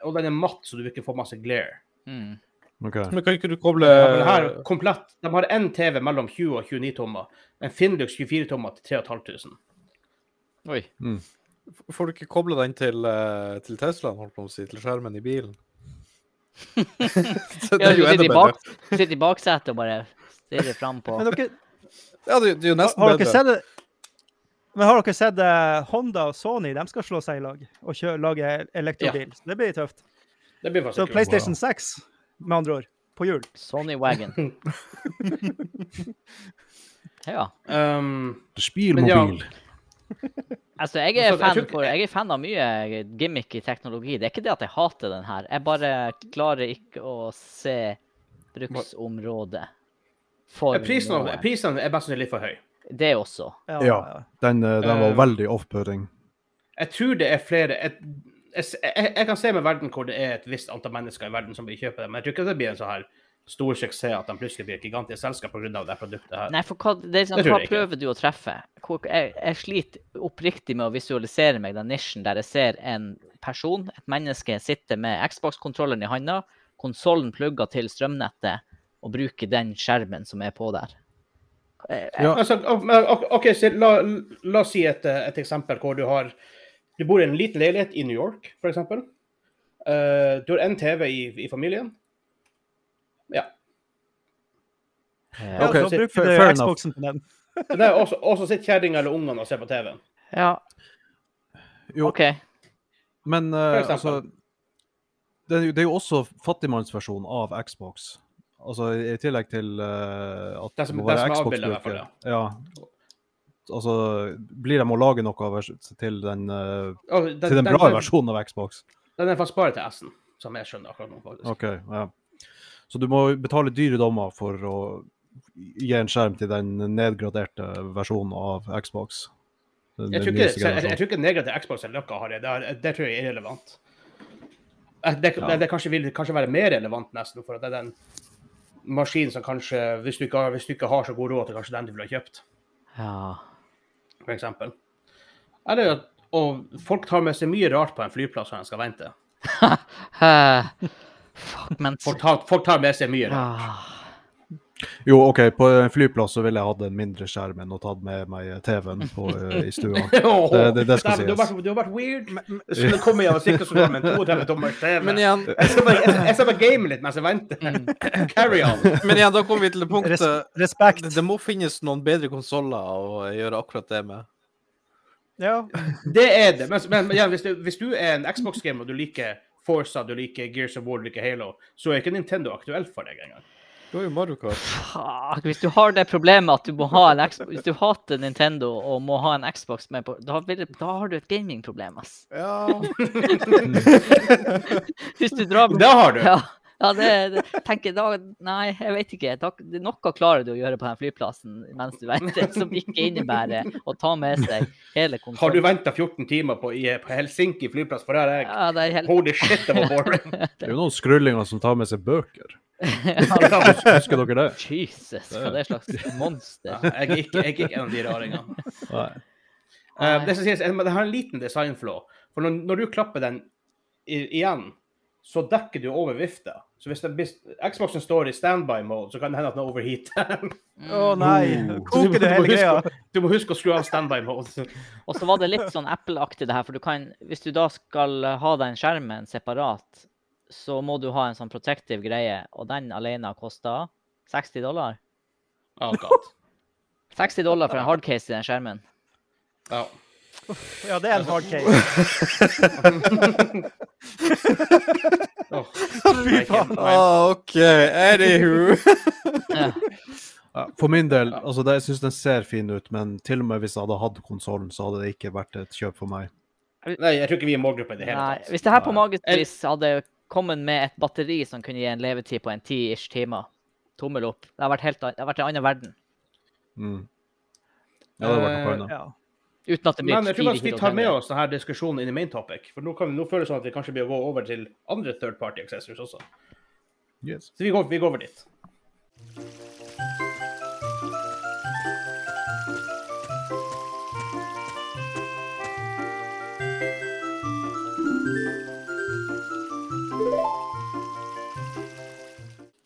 og den er matt, så du ikke får masse glare.
Mm.
Ok.
Men kan ikke du koble
Ja, men det her
Eh.
er komplett. De har én TV mellom 20 og 29 tommer, en Findux 24 tommer til 3500.
Oi.
Får du ikke koble den til, eh, til Teslaen, holdt på å si, til skjermen i bilen? Så det
Ja,
er
du
jo
sitter
enda
i,
bedre.
bak, du sitter i baksetet og bare stirrer fram på
Men dere,
Ja, det, det er jo
har,
nesten
har dere
bedre.
sett det? Men har dere sett eh, Honda og Sony? De skal slå seg i lag og kjø lage elektrobil. Så det blir tøft.
Det blir
Så
faktisk kult.
PlayStation 6, med andre ord, på jul.
Sony Wagon. ja.
Um, Men ja.
Spielmobil.
Altså, jeg
Men
er,
så- jeg tror
fan
ikke-
for, jeg er fan av mye gimmick i teknologi. Det er ikke det at jeg hater den her. Jeg bare klarer ikke å se bruksområdet for
Prisen, av-
noe.
prisen er mest sannsynlig litt for høy.
Det også.
Ja,
Ja. Den, eh, den
Eh,
var veldig off-putting.
Jeg tror det er flere et, jeg, jeg, jeg kan se med verden hvor det er et visst antall mennesker i verden som vil kjøpe det, men jeg tror ikke det blir en sånn her stor suksess at de plutselig blir et gigantisk selskap pga. det her produktet her.
Nei, for hva, det er sånn,
Det tror
hva
jeg ikke.
prøver du å treffe? Hvor, jeg, jeg sliter oppriktig med å visualisere meg den nisjen der jeg ser en person, et menneske, sitte med Xbox-kontrolleren i handa, konsollen plugga til strømnettet, og bruke den skjermen som er på der. Jeg, jeg,
Ja.
Altså, ok, men, ok, ok, så la, la oss si et, eh, et eksempel hvor du har Du bor i en liten leilighet i New York, f.eks. Uh, du har én TV i, i familien. Ja.
ja.
Ja,
Ok,
så
fair-
bruker
fair
du
enough.
Xboxen på den.
Så det er også, også sitter kjerringa eller ungene og ser på TV-en.
ja.
Jo.
OK.
Men eh,
eksempel.
altså det, er jo- det er jo også fattigmannsversjonen av Xbox. Altså i i tillegg til eh, at
Det som-
må
det
være
som er
Xbox-bruker.
avbildet i hvert fall,
Ja. Altså blir de å lage noe vers- til den, eh,
Og Den,
til den
den-
bra
den-
versjonen av Xbox?
Den er faktisk bare til S-en, som jeg skjønner akkurat nå. faktisk.
OK, ja. Så du må betale dyre dommer for å gi en skjerm til den nedgraderte versjonen av Xbox. Den,
Jeg tror
den
ikke, jeg,
nyeste
jeg,
generasjonen.
jeg tror ikke negativ Xbox eller noe har det. Det, er, det tror jeg er irrelevant. Eh, Det, det,
Ja.
det kanskje vil kanskje være mer relevant, nesten, for at det er den maskinen som kanskje Hvis du ikke har, hvis du ikke har så god råd til kanskje den du ville ha kjøpt,
Ja.
f.eks. Eller at og folk tar med seg mye rart på en flyplass når de skal vente.
Eh, Fuck, men
Folk tar, folk tar med seg mye rart.
ah.
Jo, OK, på en flyplass så ville jeg hatt en mindre skjerm enn å tatt med meg TV-en på, eh, i stua.
Åh,
Det- det- det skal
dæven, du, har
sies.
vært, du har vært weird. Skulle komme hjem og sikre seg med en 32 tommer TV.
Men igjen,
Jeg skal bare, jeg skal- jeg skal bare game litt mens jeg
Mm,
venter. Carry on.
men igjen, da kommer vi til det
Res
punktet
respekt.
det, det må finnes noen bedre konsoller å gjøre akkurat det med.
Ja.
Det er det. Men, men, men ja, hvis, du, hvis du er en Xbox-gamer og du liker Forza, du liker Gears of War, du liker Halo, så er ikke Nintendo aktuelt for deg engang.
Du har jo Mario Kart.
Fuck, hvis du har det problemet at du må ha en Xbox Hvis du hater Nintendo og må ha en Xbox med på Da, vil, det- da har du et gamingproblem, ass.
Ja.
Hvis du drar
Det har du.
Ja, ja det, det tenker jeg da Nei, jeg vet ikke. Da, det- noe klarer du å gjøre på den flyplassen mens du venter, som ikke innebærer å ta med seg hele
Har du
konsollen.
venta 14 timer på, i, på Helsinki flyplass, for der er jeg
Ja, det er helt
Holy shit, det var boring.
Det er jo noen skrullinger som tar med seg bøker.
Ja,
Husker dere det?
Jesus, hva det er slags monster.
jeg, er ikke, jeg er ikke en av de raringene.
Nei.
Eh, det, som sies, er- men det har en liten designflå. For når, når du klapper den i, igjen, så dekker du over vifta. Så hvis, den, hvis Xboxen står i standby-mode, så kan det hende at den overheater.
Å nei.
Oh.
Koker du
må
hele
huske-
greia?
Du må huske å skru av standby-mode.
Og så var det litt sånn Apple-aktig det her, for du kan, hvis du da skal ha den skjermen separat, så må du ha en sånn protective greie, og den alene koster 60 dollar.
Oh, God.
60 dollar for en hardcase i den skjermen.
Ja.
Ja, det er en hard case.
Åh,
Fy faen.
Ah, OK. Anywho.
Ja.
Ja, For min del, altså det, jeg syns den ser fin ut, men til og med hvis jeg hadde hatt konsollen, så hadde det ikke vært et kjøp for meg.
Nei, jeg tror ikke vi er i målgruppa i det hele
Nei,
tatt.
hvis det her på
Nei.
magepris hadde kommet med et batteri som kunne gi en levetid på en 10-ish timer, tommel opp. Det har vært, helt, an- det har vært en annen verden.
Mm. Ja, det hadde
Eh,
vært noe annet.
Ja.
Uten at det blir
Men jeg tror faktisk vi
400
tar med
kroner.
oss denne diskusjonen inn i main topic. For nå, kan, nå føles det sånn at vi kanskje blir å gå over til andre third party accessors også.
Yes.
Så vi går, vi går over dit.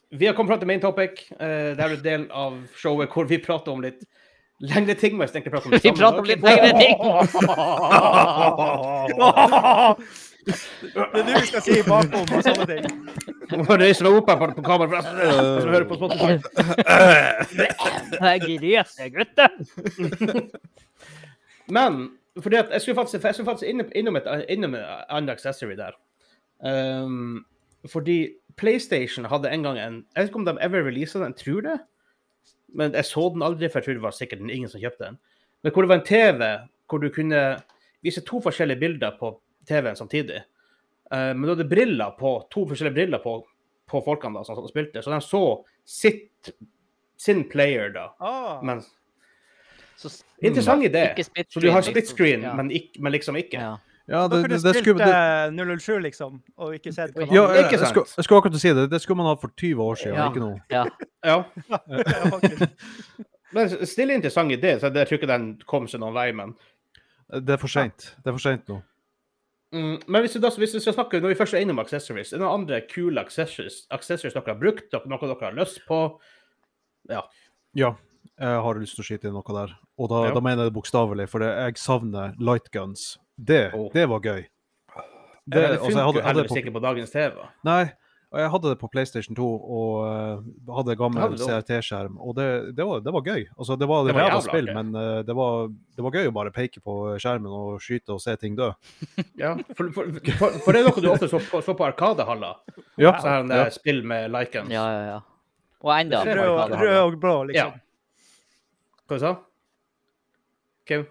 Vi har kommet fram til main topic. Eh, det er en del av showet hvor vi prater om litt lengre ting. Men jeg tenkte å prate om det
Vi
samme
prater om
i dag.
litt lengre ting.
Det er du vi skal si bakom og sånne ting.
Nå må jeg reise meg opp her på, på kamera, forresten. Jeg skal høre på Spotify.
Jeg griser, gutter.
Men fordi at jeg skulle faktisk, for jeg skulle faktisk innom, innom, et, innom en annen accessory der. Ehm, fordi PlayStation hadde en gang en Jeg vet ikke om de ever releasa den, jeg tror det. Men jeg så den aldri, for jeg tror det var sikkert ingen som kjøpte den. Men hvor det var en TV hvor du kunne vise to forskjellige bilder på TV-en samtidig. Eh, men du hadde briller på, to forskjellige briller på, på folkene da, som satt og spilte, så de så sitt, sin player da.
Ah.
Mens,
Så s-
Interessant idé.
Ikke split
Så du har
screen,
split screen,
liksom. Ja.
men, ikk- men liksom ikke.
ja.
Ja,
Da
det,
kunne
det,
du
det
spilt
skulle det,
eh, 007, liksom, og ikke sett hva
ja,
han-
jeg,
Ikke
jeg,
sant?
skulle, jeg skulle akkurat si det. Det skulle man hatt for 20 år siden,
Ja.
ikke nå.
Ja.
Ja.
Ja, faktisk.
Men stille interessant idé, så jeg tror ikke den kom seg noen vei, men
Det er for seint. Det er for sent nå.
Mm, men hvis vi, da, hvis vi skal snakke, når vi først er innom accessories, er det noen andre kule accessories, accessories dere har brukt, dere- noe dere har lyst på?
Ja, jeg har lyst til å skyte inn noe der. Og da,
Ja.
da mener jeg det bokstavelig, for det- jeg savner light guns. Det,
Åh.
det var gøy.
Det, det
altså,
funker
jeg hadde-
jo
hadde det
heldigvis
på-
ikke på dagens TV.
Nei, og jeg hadde det på PlayStation 2 og eh, hadde gammel
Hadde du også?
CRT-skjerm, og det, det, var, det var gøy. Altså, det var,
Det
det
var
var
jævla
spill,
gøy.
men eh, det, var, det var gøy å bare peke på skjermen og skyte og se ting dø.
Ja, for, for, for, for det er noe du ofte så på, så på Arkadehaller.
Ja, altså,
Så her
ja.
ja. spill med likens.
ja, ja, ja. Og enda
Det er
på
jo-
Rød, og-
Arkade
rød
Hall.
og blå, liksom.
Hva sa du? Kim?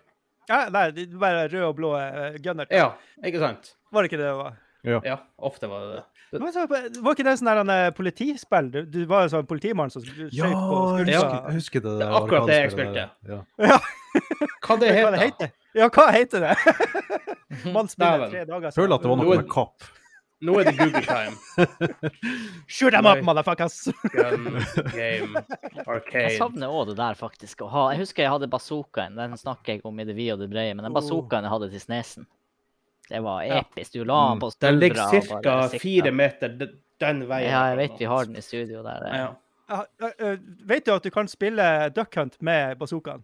Ja, nei, det er bare rød og blå eh, gunner.
Ja, ikke sant?
Var det ikke det det var?
Ja, ofte var det det.
Men så, var ikke det sånn der han, eh, politispill? Du, du var en sånn politimann som skjøt
Ja,
på skuta.
jeg husker, jeg husker det.
Det er akkurat det jeg
arkadespillet der. Ja.
Hva det
Hva
heter
det
det?
heter Ja, hva heter det?
Mhm.
Man spiller
Dæven.
tre dager
Jeg føler at det var
Noe-
noe med kapp.
Nå er det Google time.
Shoot them
Nei.
up, motherfuckers!
Gun, game,
Jeg
arcade.
savner òg det der, faktisk. å ha. Jeg husker jeg hadde bazookaen. Den snakker jeg om i det vide og det brede, men den bazookaen jeg hadde til Snesen, det var
Oh. Ja. Mm.
episk. Du la den på skuldra.
Den ligger
og
ca.
bare sikta.
fire meter d- den veien.
Ja, jeg vet vi har den i studio der.
Ja.
Ja, ø, ø, Vet du at du kan spille Duck Hunt med bazookaen?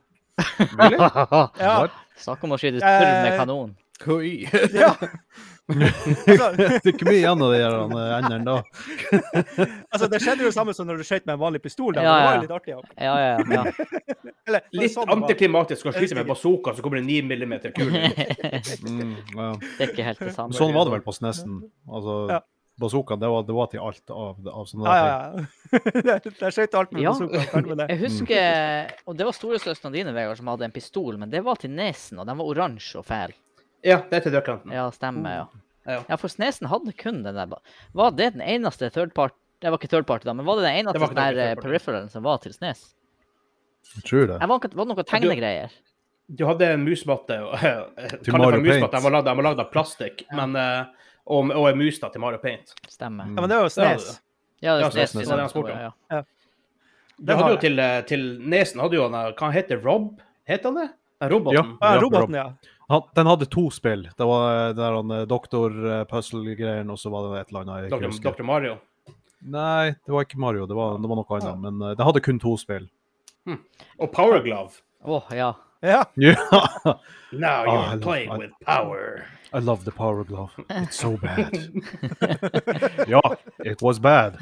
Ja.
Snakk om å skyte spurv med
Eh,
kanon.
Oi.
ja. altså,
Det er ikke mye igjen av de her, eh, endene da.
altså, det skjedde jo det samme som når du skjøt med en vanlig pistol. Da.
Ja,
Det var
ja.
jo litt artig. Ja.
Ja, ja, ja.
Eller, det var
Litt
sånn det var.
antiklimatisk å
Jeg
skyte med
husker
bazooka, så kommer det 9 millimeter kule.
Mm, ja.
Det er ikke helt det samme.
Sånn var det vel på Snesen. Altså,
Ja.
bazookaen, det var, det var til alt av, av sånne
Ja,
der
ja,
ting.
ja. Det- Der skjøt alt med
Ja.
bazookaen. ferdig med det.
Jeg husker Og det var storesøstrene dine, Vegard, som hadde en pistol, men det var til Nesen, og den var oransje og fæl.
Ja, det er til dørkanten.
Ja, stemmer, ja.
Ja.
Ja, for Snesen hadde kun den der ba- Var det den eneste third part Det var ikke third party, da, men var det den eneste
Det var ikke
sånn
noe
der eh,
third party.
peripheralen som var til Snes?
Jeg tror det.
Jeg var, ikke- var det noe tegnegreier?
Du hadde en musmatte og- Kall det for
Mario
en musmatte,
Paint.
den var lagd- den var lagd av plastikk, men, eh, og, og en mus da til Mario Paint.
Stemmer.
Ja, men det var jo
Det hadde
snes.
det.
Ja, det
Ja,
er Snes.
Snesen,
vi
det var det han
nevnte,
spurte om.
ja.
Du
Det har
hadde jo
jeg.
til, eh, til Nesen hadde jo han eh, Hva heter Rob? Het han det? Den roboten?
Ja,
Ja,
Rob.
roboten, ja.
Han, den hadde to spill. Det var den der han, eh, Doktor eh, Puzzle-greien, og så var det et eller annet. jeg ikke
Dr.
husker.
Dr. Mario.
Nei, det var ikke Mario. Det var, det var noe annet. Men eh, det hadde kun to spill.
Og Power Glove.
Åh, ja.
ja.
Yeah.
Now
Ah,
you're
jeg lov-
playing
jeg-
with power.
I love the power glove. It's so bad. ja, it was bad.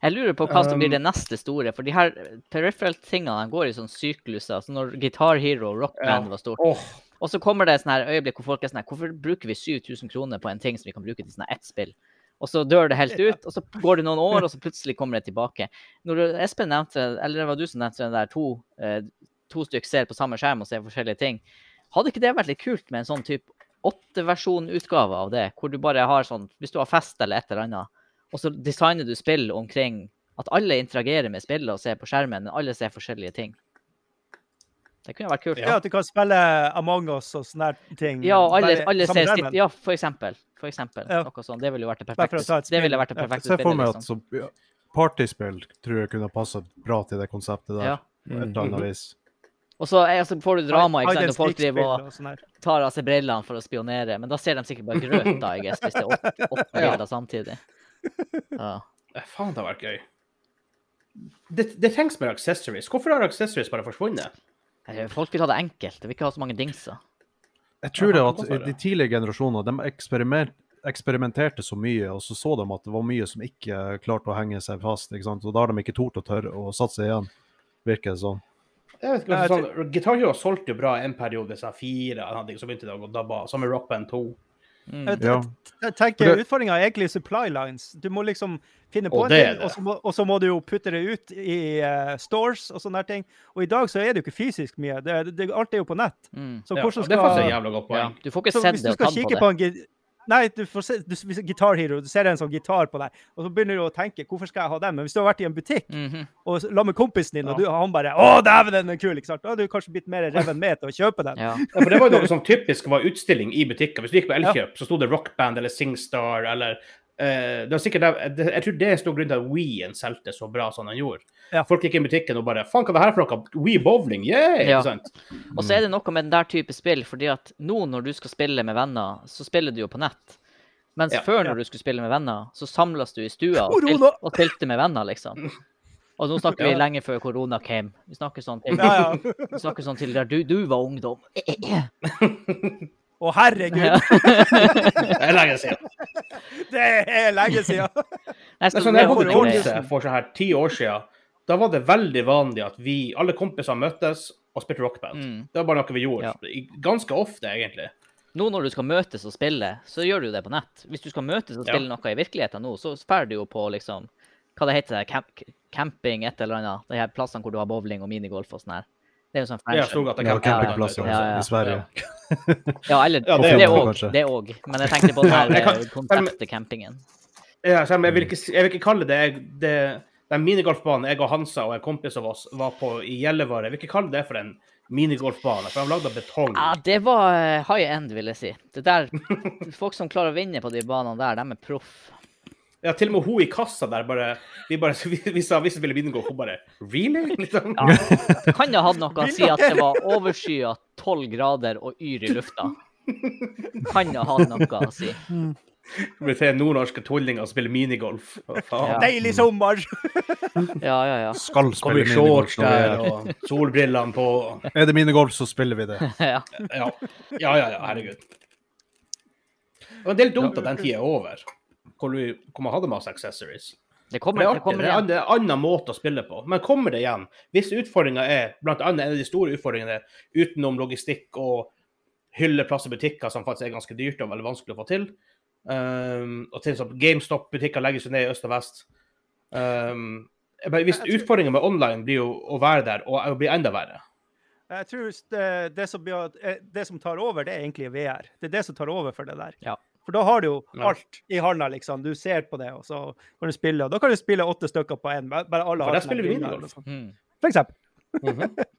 Jeg lurer på hva som blir
Um,
det neste store. For de her peripheral-tingene de går i sånn sykluser. Altså når Guitar Hero og Rock Band var stort.
Åh,
Og så kommer det sånne her øyeblikk hvor folk er sånn her Hvorfor bruker vi 7000 kroner på en ting som vi kan bruke til sånn her ett spill? Og så dør det helt ut, og så går det noen år, og så plutselig kommer det tilbake. Når du- Espen nevnte, eller det var du som nevnte den der to, eh, to stykker ser på samme skjerm og ser forskjellige ting. Hadde ikke det vært litt kult med en sånn type åtteversjon-utgave av det, hvor du bare har sånn Hvis du har fest eller et eller annet, og så designer du spill omkring at alle interagerer med spillet og ser på skjermen, men alle ser forskjellige ting. Det kunne vært kult.
ja. At du kan spille Among us og sånne her ting.
Ja, og alle,
Bare
alle ser
sammen med
sitt
skjermen.
Ja, for eksempel. For eksempel.
Ja.
Noe sånt. Det ville jo vært det
Bare for å ta
perfekte.
et
Det ville
spill.
vært det perfekte
Se for meg
spillet.
at
Liksom.
så, ja, partyspill tror jeg kunne passa bra til det konseptet der.
Ja.
på Et eller annet vis.
Og så er- så får du drama, ikke sant,
Hide
når
and
folk
seek-spill
driver og
og sånn her.
tar av seg brillene for å spionere. Men da ser de sikkert bare grøt, da, jeg guess, hvis det er åtte, åtte
Ja.
bilder samtidig. Ja.
eh, faen, det har vært gøy. Det, det trengs mer accessories. Hvorfor har accessories bare forsvunnet?
Eh, Folk vil ha det enkelt. De vil ikke ha så mange dingser.
Jeg tror det
Ja,
at
det kan
de tidligere generasjoner de eksperiment, eksperimenterte så mye, og så så de at det var mye som ikke klarte å henge seg fast. ikke sant? Og da har de ikke tort å tørre å satse igjen, virker det som.
Jeg vet ikke,
Nei, jeg
sånn, Guitar Hero solgte jo bra en periode, sa fire, eller noe, så begynte det å gå dabba. Samme Rock Band 2.
Mm.
Jeg
Ja.
Jeg
For
tenker
det-
Utfordringa er egentlig supply lines. Du må liksom finne på
Og
en
det er
ting,
det.
og så, må, og så må du jo putte det ut i eh, stores og sånne her ting. Og i dag så er det jo ikke fysisk mye. Det, det, alt er jo på nett.
Mm.
Så
Ja,
hvordan
Det er faktisk
skal
et jævla godt
Ja.
poeng.
Du får ikke
så
sett
Hvis
det
du
og
skal
tatt
kikke
på
på
det.
en, gi- Nei, du får se, du, hvis- Guitar Hero, du ser en sånn gitar på deg, og så begynner du å tenke hvorfor skal jeg ha den? Men hvis du har vært i en butikk
Mhm.
og la med kompisen din, og du, han bare 'Å, dæven, den er kul', ikke sant? Da hadde du kanskje blitt mer reven med til å kjøpe den.
ja.
Ja, for det var jo noe som typisk var utstilling i butikker. Hvis du gikk på Elkjøp, så sto det Rock Band eller Singstar eller eh, det var sikkert, der- det, Jeg tror det er en stor grunn til at Ween solgte så bra som den gjorde.
Ja.
Folk gikk inn i butikken og bare Faen, hva er det her for noe? Wee bowling, yeah!
Ja.
Ikke sant?
Og så er det noe med den der type spill, fordi at nå når du skal spille med venner, så spiller du jo på nett. Mens
Ja.
før, når du skulle spille med venner, så samles du i stua og,
Korona!
spilt, og spilte med venner, liksom. Og nå snakker vi lenge før korona came. Vi snakker sånn til,
Ja, ja.
vi snakker sånn til der du, du var ungdom.
Å, herregud,
Ja.
Det er lenge siden.
det er lenge siden!
Nei,
Men
så
sånn,
det
jeg
er
bodde i
jo-
Tromsø for sånn her ti år siden. Da var det veldig vanlig at vi, alle kompiser møttes og spilte rockband.
Mm.
Det var bare noe vi gjorde.
Ja.
I- Ganske ofte, egentlig.
Nå når du skal møtes og spille, så gjør du jo det på nett. Hvis du skal møtes og
Ja.
spille noe i virkeligheten nå, så drar du jo på liksom Hva det heter det? Camp camping, et eller annet. De her plassene hvor du har bowling og minigolf og sånn her. Det er jo sånn
Ja,
fancy.
Storgata
Ja,
camping.
campingplasser
Ja, ja, ja.
i Sverige.
Ja, eller
Ja, det
det
er
jo-
òg.
kanskje.
Det òg. Men jeg tenkte på den
Ja,
her
jeg kan-
eh, konseptcampingen.
Ja, selv om
Mm.
jeg vil ikke, jeg vil ikke kalle det, det Den minigolfbanen jeg og Hansa og en kompis av oss var på i Gjellivare, jeg vil ikke kalle det for en minigolfbane, for de er lagd av betong.
Ja, det var eh, high end, vil jeg si. Det der, Folk som klarer å vinne på de banene der, de er proff.
Ja, til og med hun i kassa der bare Vi, bare, vi, vi sa hvis vi ville minigolf, hun bare Really? Liksom.
Ja. Kan jeg ha hatt noe å si at det var overskya 12 grader og yr i lufta? Kan jeg ha hatt noe å si?
Vi ser nordnorske tullinger som spiller minigolf. Hva faen?
Ja.
Deilig sommer!
Ja, ja, ja.
Skal
Kommer
spille
i shorts
minigolf. når vi
der
er-
og solbrillene på.
Er det minigolf, så spiller vi det.
ja.
Ja, ja, ja, ja herregud. Det var en del dumt at den tida er over, hvor, du, hvor man hadde masse accessories.
Det
Det
kommer,
er
det
artig,
kommer
det er en
igjen.
det er en annen måte å spille på. Men kommer det igjen? Hvis utfordringa er blant annet en av de store utfordringene utenom logistikk og hylleplass i butikker, som faktisk er ganske dyrt og veldig vanskelig å få til, um, og til som GameStop-butikker legges jo ned i øst og vest um, jeg bare- Hvis utfordringa med online blir jo å være der, og å bli enda verre
Jeg tror s- det, det, som, blir- eh, det som tar over, det er egentlig VR. Det er det som tar over for det der.
Ja.
For da har du jo
Ja.
alt i handa, liksom. Du ser på det, og så kan du spille. Og da kan du spille åtte stykker på én. Bare alle
For
har
der
sånne
spiller vi
briller,
minigolf.
liksom.
Mm.
For eksempel.
Mhm.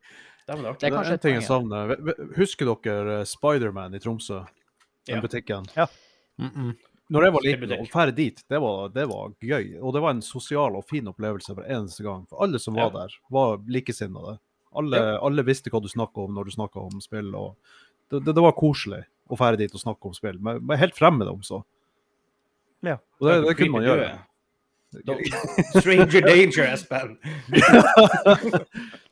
Det var
Det
artig.
er
Det er
kanskje
en
et
ting jeg
poeng, ja.
savner. Ve- ve- Husker dere eh, Spiderman i Tromsø? Den
Ja.
butikken?
Ja.
Når jeg var
Det er
liten, å
butikk.
ferde dit, det var, det var gøy. Og det var en sosial og fin opplevelse hver eneste gang. For alle som var
Ja.
der, var likesinnede. Alle, alle visste hva du snakka om når du snakka om spill. Og det, det, det var koselig å ferde dit og snakke om spill. Men men helt fremmed om så.
Ja.
Og det, det kunne man gjøre.
Da- Stranger danger, Espen.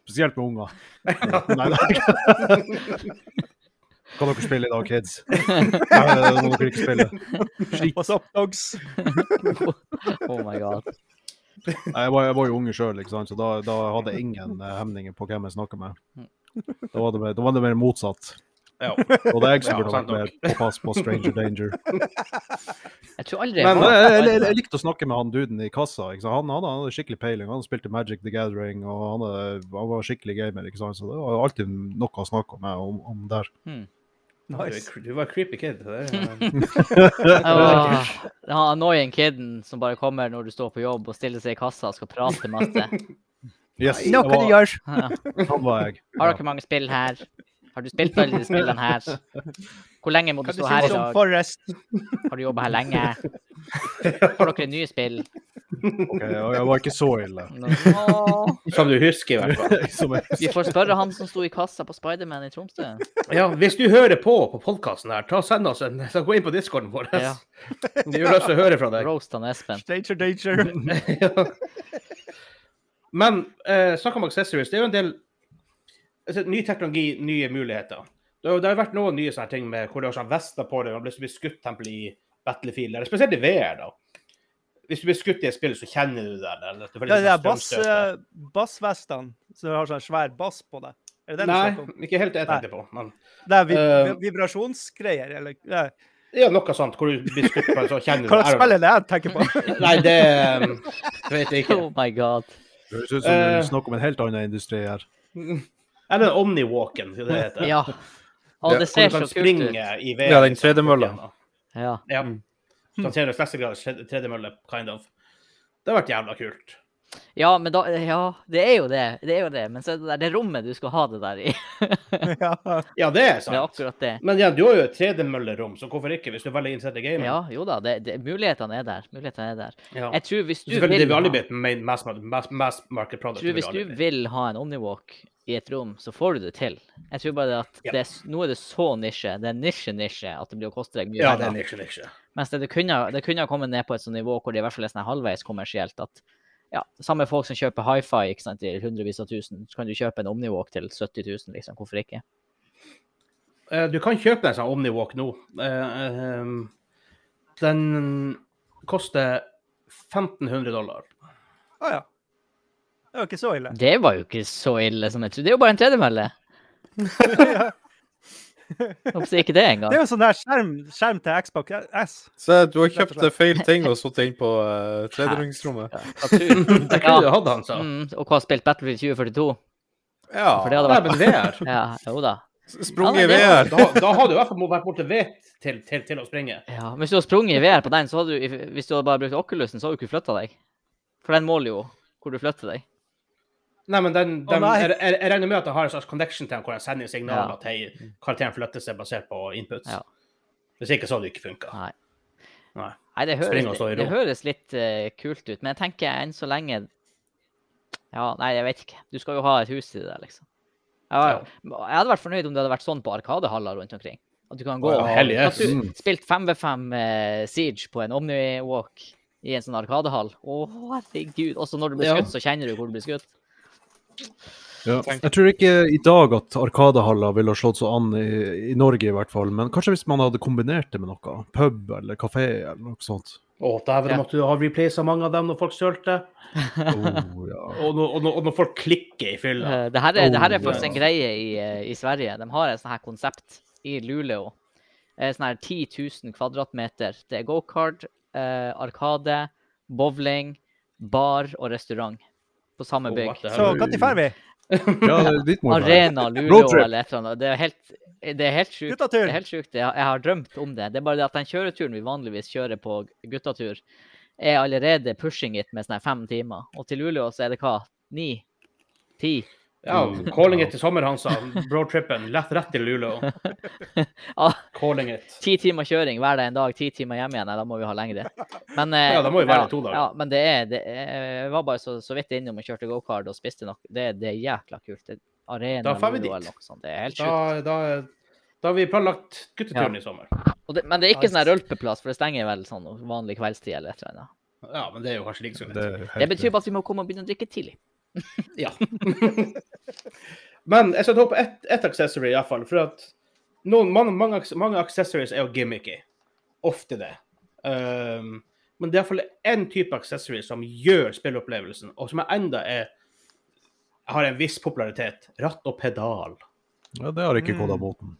Spesielt med unger. Nei, nei. Kan dere spille i dag, kids? Nei, det må dere ikke spille.
What's up, dogs?
Oh my god.
Nei, jeg, var, jeg var jo unge sjøl, så da, da hadde jeg ingen eh, hemninger på hvem jeg snakka med. Da var, det mer, da var det mer motsatt.
Ja.
Og det er jeg
Ja,
som burde
sant
vært mer påpass på stranger danger.
Jeg tror aldri
Men- eh,
Men
var-
jeg, jeg, jeg, jeg likte å snakke med han duden i kassa. Ikke sant? Han, han, han hadde skikkelig peiling. Han spilte Magic the Gathering, og han, eh, han var skikkelig gamer. Ikke sant? Så det var alltid noe å snakke med om, om der.
Nice.
Du var creepy kid. Det er-
Åh, Den her annoying kiden som bare kommer når du står på jobb og stiller seg i kassa og skal prate masse.
Yes,
Nå
det
kan du
var,
gjøre
han var jeg.
Har dere mange spill her? Har du spilt alle de spillene her? Hvor lenge må du
Kan du
stå
si
her i
som
dag?
Forrest?
Har du jobba her lenge? Har dere nye spill?
Ok, Eh, og jeg var ikke så ille.
Nå-
Som du husker, i hvert fall.
Som jeg,
Vi får spørre han som sto i kassa på Spiderman i Tromsø.
Ja, hvis du hører på på podkasten her, ta og send oss en så Gå inn på discorden vår.
Ja.
Vi har lyst til å høre fra deg.
Roast han Espen.
Stranger danger.
Ja. Men eh, snakk om accessories. Det er jo en del altså, ny teknologi, nye muligheter. Det har, det har vært noen nye sånne ting med hvor du har sånn vester på deg og blir blir skutt tempel i Battlefield, eller spesielt i VR, da. Hvis du blir skutt i et spill, så kjenner du det. Eller, at du får litt
Ja, det er
sånn
bass,
strømstøt.
eh, bassvestene som har sånn svær bass på det. Er det den du snakker om?
Nei, ikke helt det jeg tenkte på. Men
Det er vib
Eh,
vibrasjonsgreier, eller? Ja.
ja, noe sånt hvor du blir skutt på, så kjenner du
Hva slags spill er det jeg tenker på?
Nei, det eh, vet jeg ikke.
Oh my god.
det høres ut
Eh.
som du snakker om en helt annen industri her.
Eller Omniwalken, som det heter.
Ja. Å,
Ja,
det
Hvor
ser
du
så
kan
kult ut.
springe i VR.
Ja, den
liksom,
tredemølla.
opp igjen,
Ja.
Ja.
Mm.
Sånn 360 graders tred- tredemølle, kind of. Det har vært jævla kult.
ja, men da Ja, det er jo det. Det er jo det. Men så er det der, det rommet du skal ha det der i.
ja.
Ja, det er
Det er
sant.
akkurat det.
Men ja, du har jo et tredemøllerom, så hvorfor ikke, hvis du er veldig interessert i gaming?
Ja, jo da. Det, det, mulighetene er der. Mulighetene er der.
Ja.
Jeg tror hvis du vil
Selvfølgelig, det vil
ha-
aldri bli et main- mass, mass, mass market product.
Jeg
det
tror
vil
hvis
aldri bli.
du vil ha en Omniwalk i et rom, så får du det til. Jeg tror bare det at
Ja.
det er, s- nå er det så nisje, det er nisje-nisje, at det blir å koste deg mye
Ja, det er
penger.
niksje, niksje.
Mens det, det, kunne, det kunne ha kommet ned på et sånt nivå hvor det i hvert fall er sånn her halvveis kommersielt. at ja, Samme folk som kjøper hifi ikke sant, til hundrevis av tusen, så kan du kjøpe en Omniwalk til 70 000, liksom. Hvorfor ikke?
Eh, Du kan kjøpe en sånn Omniwalk nå. Eh, eh, um, Den koster 1500 dollar.
Å ja. Det var ikke så ille.
Det var jo ikke så ille som jeg trodde. Det er jo bare en tredemølle. Jeg Håper ikke det
Det
engang.
er jo sånn der skjerm, skjerm til Xbox S.
Se, du har
Rett og
kjøpt eh, feil ting og satt inn på uh, tredjerungsrommet.
Jeg kunne jo hatt den, så.
Mm, og hva har spilt Battlefield 2042?
Ja.
For det hadde
Nei,
vært
men VR.
Ja, jo da.
Sprunget i
Ja,
VR.
Da, da har du i hvert fall må vært motivert til, til, til å springe.
Ja, men Hvis du har sprunget i VR på den, så hadde du, i- hvis du hadde bare brukt Oculusen, så hadde du ikke flytta deg. For den måler jo hvor du flytter deg.
Nei, men den,
Å,
den,
nei.
jeg, jeg jeg regner med at jeg har en slags connection til den, hvor jeg sender signaler
Ja.
at hei, karakteren flytter seg basert på inputs.
Ja.
Hvis ikke så hadde det ikke funka.
Nei.
Nei.
Nei, det
Spring og
høres,
stå i
det,
ro.
høres litt eh, kult ut, men jeg tenker enn så lenge Ja, nei, jeg vet ikke. Du skal jo ha et hus i det, der, liksom. Jeg, var, jeg hadde vært fornøyd om det hadde vært sånn på Arkadehaller rundt omkring. At du kan gå
Å,
og
hell yes.
at du spilt 5v5 eh, Siege på en Omniwalk i en sånn Arkadehall. Å, herregud. Også når du blir
Ja.
skutt, så kjenner du hvor du blir skutt.
Ja. Jeg tror ikke i dag at Arkadehaller ville ha slått så an i, i Norge, i hvert fall. Men kanskje hvis man hadde kombinert det med noe. Pub eller kafé eller noe sånt.
Å, dæven,
Ja.
måtte du ha replacet mange av dem når folk sølte.
Oh, ja.
Og når, og når, og når folk klikker i fylla.
Eh, Det her er, det her er
Oh,
faktisk en
yes.
greie i, eh, i Sverige. De har et sånt her konsept i Luleå. Eh, Sånn her 10 000 kvadratmeter. Det er gokart, eh, arkade, bowling, bar og restaurant på samme
Oh,
bygg. Sånn
what the hell?
Så når drar vi?
ja, det er dit må vi være.
Arena Luleå
Roadtrip.
eller et eller annet. Det er helt, det er helt sjukt. Det er
Guttatur!
helt sjukt. Jeg, jeg har drømt om det. Det er bare det at den kjøreturen vi vanligvis kjører på guttatur, er allerede pushing it med sånn her fem timer. Og til Luleå så er det hva? Ni? Ti?
Ja, calling it til sommer, Hansa. Broadtrippen. Lett rett til Luleå.
Ah.
Calling it.
ti timer kjøring hver dag en dag, ti timer hjem igjen. Nei, da må vi ha lengre. Men, eh,
Ja, da må vi være
ja,
to dager.
Ja, men det er, det er Jeg var bare så, så vidt innom og kjørte gokart og spiste noe. Det, det er jækla kult. Det, arena
Da får vi
Luleå
dit.
eller noe sånt. Det er helt
Da,
sjukt.
da, da har vi planlagt gutteturen i sommer.
Og det, men det er ikke
Nice.
sånn her rølpeplass, for det stenger vel sånn vanlig kveldstid eller et eller annet.
Ja, men det er jo kanskje like så
Det,
greit.
er helt-
Det betyr bare at vi må komme og begynne å drikke tidlig.
Ja. men jeg skal ta opp ett et accessory, iallfall. For at noen, mange, mange, aks- mange accessories er jo gimmicky. Ofte det. Um, men det er iallfall én type accessory som gjør spilleopplevelsen, og som enda er har en viss popularitet. Ratt og pedal.
ja, det har ikke gått av
Mm.
moten.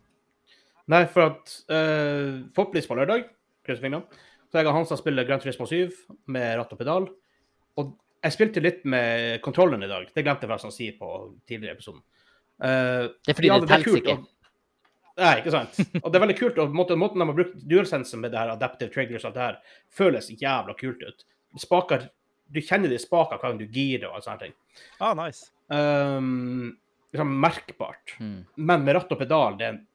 Nei, for at uh, forhåpentligvis på lørdag krysser fingrene, så jeg og Hansa spiller Grand Turismo 7 med ratt og pedal. Og jeg spilte litt med kontrollen i dag. Det glemte jeg forresten å si på tidligere episoden. Eh,
Det er fordi
ja, er
det teller
kult
ikke.
å- Nei, ikke sant. Og det er veldig kult. Og måten, måten de har brukt dualsensen med det her, adaptive triggers og alt det her, føles jævla kult ut. Spaker, du kjenner de spakene hver gang du girer og alle sånne ting.
Ah, nice.
Um, liksom merkbart.
Mm.
Men med ratt og pedal, det, er en-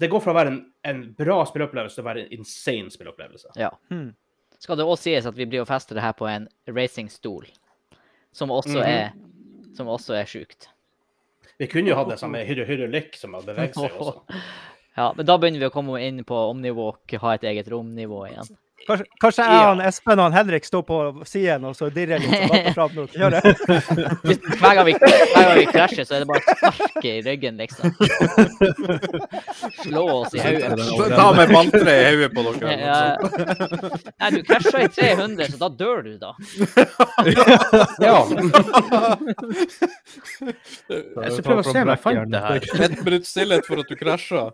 det går fra å være en, en bra spilleopplevelse til å være en insane spilleopplevelse.
Ja.
Hmm.
Skal det også sies at vi blir å feste det her på en racingstol, som også
Mhm.
er som også er sjukt.
Vi kunne jo hatt det som med hyre, hyrelikk som har beveget seg også.
Ja, men da begynner vi å komme inn på Omnivåk, ha et eget romnivå igjen.
Kanskje, kanskje jeg og han Espen og han Henrik står på siden og så dirrer litt sånn att og fram når vi kjører?
Hver gang vi, hver gang vi krasjer, så er det bare et spark i ryggen, liksom. Slå oss i hodet.
Da med balltre i hodet på dere.
Ja. Nei, du krasja i 300, så da dør du, da.
Ja,
Da er
skal
det
prøve å
ta
se om jeg
fra
fant det her.
Blackjern.
Ett minutt altså. stillhet for at du krasja.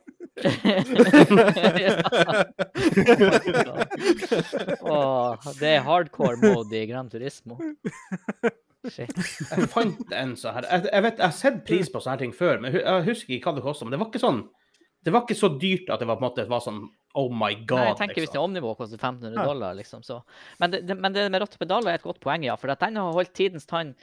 Åh, det er hardcore mode i Gran Turismo. Shit.
jeg fant en sånn her. Jeg, jeg vet, jeg har sett pris på sånne her ting før, men hu- jeg husker ikke hva det kosta. Men det var ikke sånn Det var ikke så dyrt at det var, på en måte, var sånn oh my god.
Nei, jeg tenker Hvis en
liksom.
Omnivå koster 1500
Ja.
dollar, liksom, så Men det, det, men det med rattepedaler er et godt poeng, ja. For at den har holdt tidens tann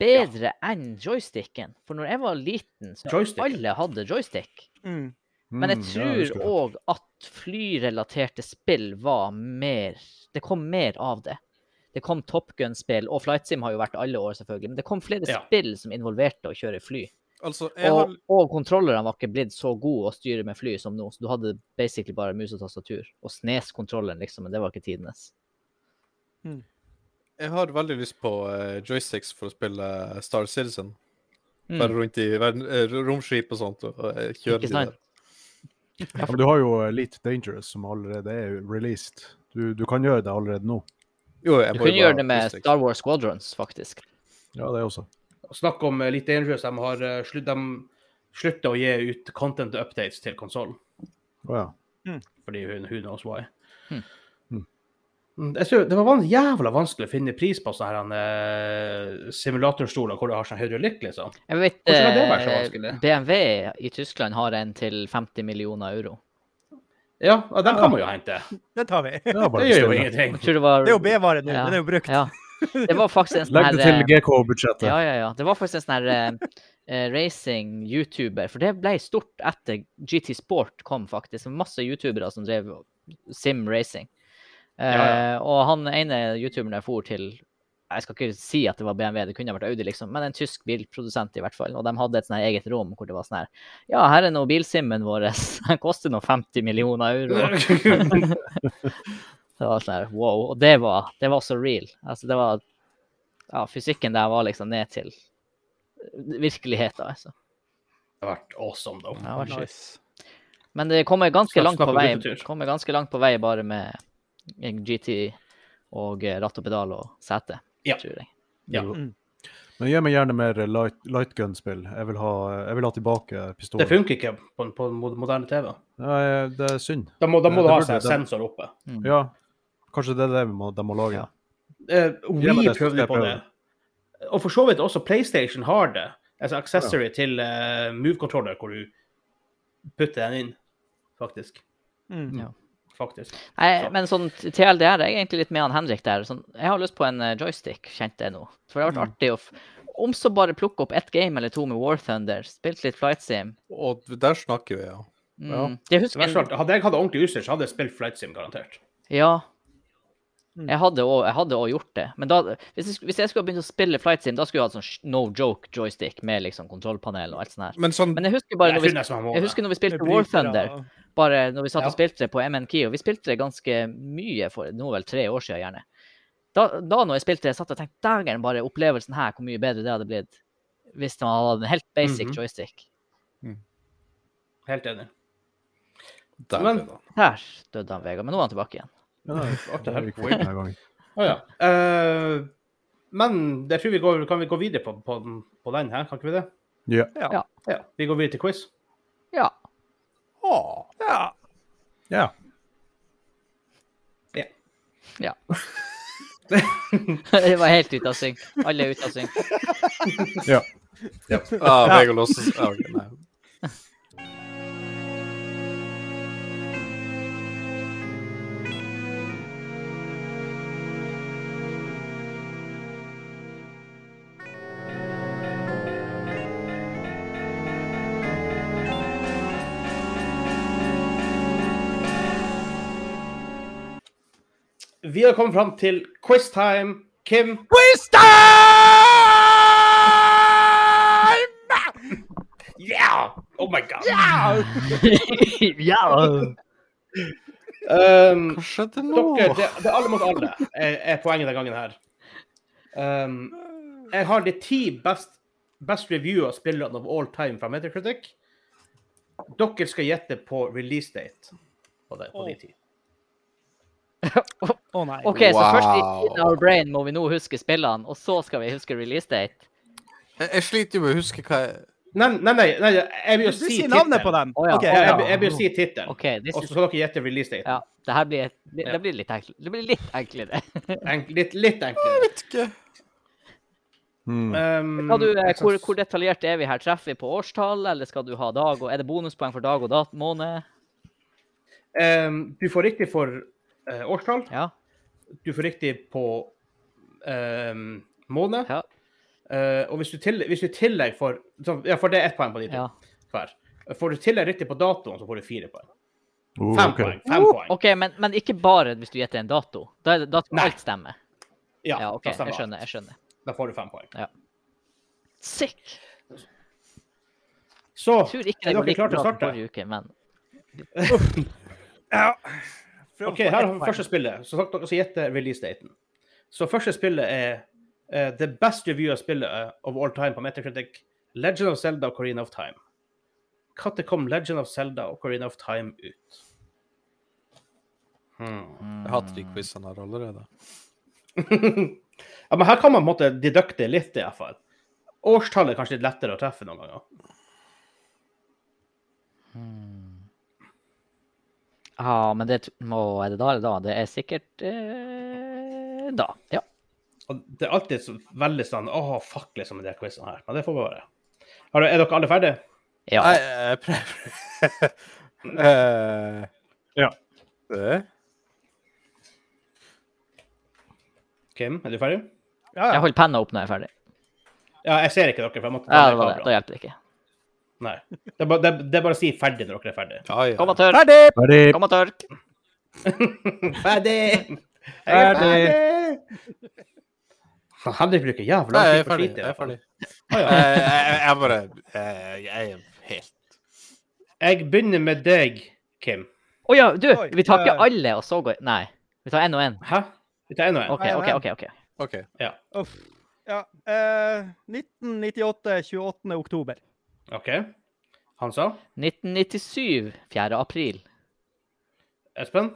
bedre enn joysticken. For når jeg var liten, så
Joysticken?
alle hadde joystick.
Mm.
Men jeg
Mm, ja, jeg
tror
husker det.
òg at flyrelaterte spill var mer Det kom mer av det. Det kom Top Gun-spill, og Flight Sim har jo vært alle år, selvfølgelig. Men det kom flere
Ja.
spill som involverte å kjøre fly.
Altså, jeg har
Og, og kontrollerne var ikke blitt så gode å styre med fly som nå, så du hadde basically bare mus og tastatur. Og snes-kontrollen, liksom, men det var ikke tidenes.
Jeg har veldig lyst på eh, joysticks for å spille eh, Star Citizen.
Mm.
Bare rundt i verden, eh, romskip og sånt. Og, eh, kjøre
Ikke
de
sant?
der.
Ja, men du har jo Elite Dangerous, som allerede er released. Du, du kan gjøre det allerede nå.
Jo, jeg
Du
må jo
kunne gjøre
bare
det med
joystick.
Star Wars Squadrons, faktisk.
Ja, det også.
Snakk om eh, litt dangerous. De har eh, slutt, de slutta å gi ut content updates til konsollen.
Å ja.
Fordi hun, who knows why.
Hmm.
Hmm.
Mm, Jeg tror det var van jævla vanskelig å finne pris på sånne her, eh, simulatorstoler hvor du har sånn hydraulikk, liksom.
Jeg vet
Hvordan kan det være så
eh,
vanskelig?
BMW i Tyskland har en til 50 millioner euro.
Ja, og den kan man jo hente.
Den tar vi. Det
ja bare
Det gjør jo
bestille.
ingenting.
Jeg tror det var
er jo B-vare nå.
Ja.
Den er jo brukt.
Ja. Det var faktisk en sånn
Legg
her
det til
eh,
GK-budsjettet.
Ja, ja, ja. Det var faktisk en sånn her eh, eh, racing-YouTuber, for det ble stort etter GT Sport kom, faktisk. Det var Masse YouTubere som drev sim-racing. Eh,
Ja,
Og han ene youtuberen jeg for til Jeg skal ikke si at det var BMW, det kunne ha vært Audi, liksom, men en tysk bilprodusent i hvert fall. Og de hadde et sånn her eget rom hvor det var sånn her Ja, her er nå bilsimmen vår. Den koster nå 50 millioner euro. Det var sånn her, wow. Og det var, det var så real. Altså, det var Ja, fysikken der var liksom ned til virkeligheten, altså.
Det har vært awesome, da.
Det var nice.
Nice.
Men det kommer ganske
Snakk-
langt
snakk
på
om
vei.
guttetur.
Kommer ganske langt på vei bare med GT og eh, ratt og pedal og sete,
Ja.
tror jeg.
Ja.
Mm.
Men gi meg gjerne mer light, light gun-spill. Jeg, vil ha- jeg vil ha tilbake
Det
pistolen.
funker ikke på, på mod- moderne TV.
Nei, det er synd.
Da må, da må du
Det-
ha
det burde-
sånn sensor oppe.
Mm.
Ja, kanskje det er det vi må, de må lage.
Ja.
Eh,
Ja, men
We
det skal
prøvde
jeg
på det.
prøve.
Og for så vidt også PlayStation har det. Altså accessory til eh, move-controller, hvor du putter den inn, faktisk.
Mm.
Ja.
Faktisk.
Nei,
Så.
men sånn t- TLDR er jeg egentlig litt med han Henrik der. Sånn, jeg har lyst på en eh, joystick, kjente jeg nå. For det har vært artig å f Om så bare plukke opp ett game eller to med War Thunder, spilt litt Flight Sim.
Og der snakker vi, ja.
Mm.
Ja.
Jeg
Så
husker
verst
en,
av alt, Hadde jeg hatt ordentlig utstyr, så hadde jeg spilt Flight Sim, garantert.
Ja.
Mm.
Jeg hadde også- jeg hadde òg gjort det. Men da, hvis, jeg, sk- hvis jeg skulle ha begynt å spille Flight Sim, da skulle jeg hatt sånn sh- no joke joystick med liksom kontrollpanel og alt sånt her.
Men sånn
Men jeg husker bare
jeg,
når vi,
tror nesten man må
jeg husker
det.
når vi
Med
spilte War
brytere
Thunder,
og-
bare når vi satt
Ja.
og spilte det på MNK, og vi spilte det ganske mye for nå vel tre år siden gjerne. Da, da når jeg spilte det, satt jeg og tenkte dægeren bare opplevelsen her, hvor mye bedre det hadde blitt hvis man hadde hatt en helt basic
Mhm.
joystick.
Helt enig.
der,
men-
er det.
Der døde han Vegard, men nå er han tilbake igjen.
Ja, nei,
What the
det
hell?
er ikke quick denne gangen.
Å ja. Eh, men jeg tror vi går, kan vi gå videre på, på, den- på den her, kan ikke vi det?
Ja.
Ja.
Ja. Vi går videre til quiz.
Ja.
Å, ja.
ja.
Ja. det var helt ute av synk. Alle er ute av synk.
Ah, Vegard Låsen ah, ok, nei.
Vi har kommet fram til quiztime. Kim,
Quiz time!
Yeah! Oh my god.
ja.
Um,
Hva skjedde nå?
Oh.
dere, det, det er alle mot alle er, er poenget den gangen her. Um, jeg har de ti best, best review av spillerne of all time fra Metacritic. Dere skal gjette på release date på, det, på de ti.
Oh. Å nei.
OK, så først i
Wow.
In Our Brain må vi nå huske spillene, og så skal vi huske release date.
Jeg, jeg sliter jo med å huske hva jeg
Nei, nei, nei, nei jeg vil
Du
jo si
sier navnet på
tittelen.
dem.
Å, ja.
Ok,
Jeg, jeg,
ja.
jeg vil jo si tittelen.
OK, this
Og så
is,
skal dere gjette release date.
ja, det her blir,
Ja. Mm,
det blir litt enklere. Det blir litt enklere.
Enk, litt, litt enklere.
vet ikke.
Mm.
Um,
Skal du, eh,
jeg
hvor,
synes-
hvor detaljert er vi her? Treffer vi på årstall, eller skal du ha dag og Er det bonuspoeng for dag og dat måned?
Ehm, du får riktig for eh, årstall,
Ja.
du får riktig på ehm, måned.
Ja.
Eh, og hvis du, til, hvis du i tillegg får så- Ja, for det er ett poeng på de to
ja.
hver. Får du i tillegg riktig på datoen, så får du fire poeng.
Oh,
Fem
ok.
poeng. Fem poeng.
OK, men, men ikke bare hvis du gjetter en dato. Da, er det- da skal
Nei.
alt stemme.
Ja,
Ja, OK,
da stemmer
jeg skjønner.
alt.
jeg skjønner.
Da får du fem poeng.
Sick!
Så
Jeg tror ikke
er
det går
dere
like
klare til å
bra som
starte?
forrige uke, men
OK, her har vi første spillet. Som sagt, dere skal gjette release-daten. Så første spillet er eh, the best review av spillet eh, of all time på Metacritic, Legend of Zelda og Corina of Time. Når kom Legend of Zelda og Corina of Time ut? Hmm.
Jeg hater de quizene sånn her allerede.
Ja, men her kan man på en måte dedukte litt, i hvert fall. Årstallet er kanskje litt lettere å treffe noen ganger.
Ja, men det må, er det da eller da? Det er sikkert eh, da. Ja.
Og det er alltid så veldig sånn Åh, fuck, liksom, med de quizene her. Men det får være. Har du- Er dere alle ferdige?
ja.
Nei, jeg prøver Eh,
Ja.
det-
Kim, er du ferdig?
Ja,
Jeg
ja.
holder penna opp når jeg er ferdig.
Ja, jeg ser ikke dere, for jeg måtte ta
Ja,
ned
det var det.
kameraet.
Da hjelper det ikke.
Nei. Det er, bare, det, er- det er bare å si ferdig når dere er ferdig.
Ja, ja.
Kom og tørk!
Ferdig!
Ferdig.
Kom og tørk!
Ferdig! Jeg er ferdig! Han Henrik bruker jævla
Nei,
lang
jeg
tid på å
er ferdig.
slite. i
Jeg er
hvert fall.
ferdig. Eh, jeg, jeg bare eh, Jeg er helt
Jeg begynner med deg, Kim.
Å ja, du!
Oi,
Vi tar ikke
eh.
alle, og så går Nei. Vi tar én og én.
Hæ? Vi tar en og en.
OK,
Nei,
OK,
nei.
OK. ok.
OK.
Uff. Ja. Eh, 1998, 28. oktober.
OK. Han sa.
1997. 4. april.
Espen?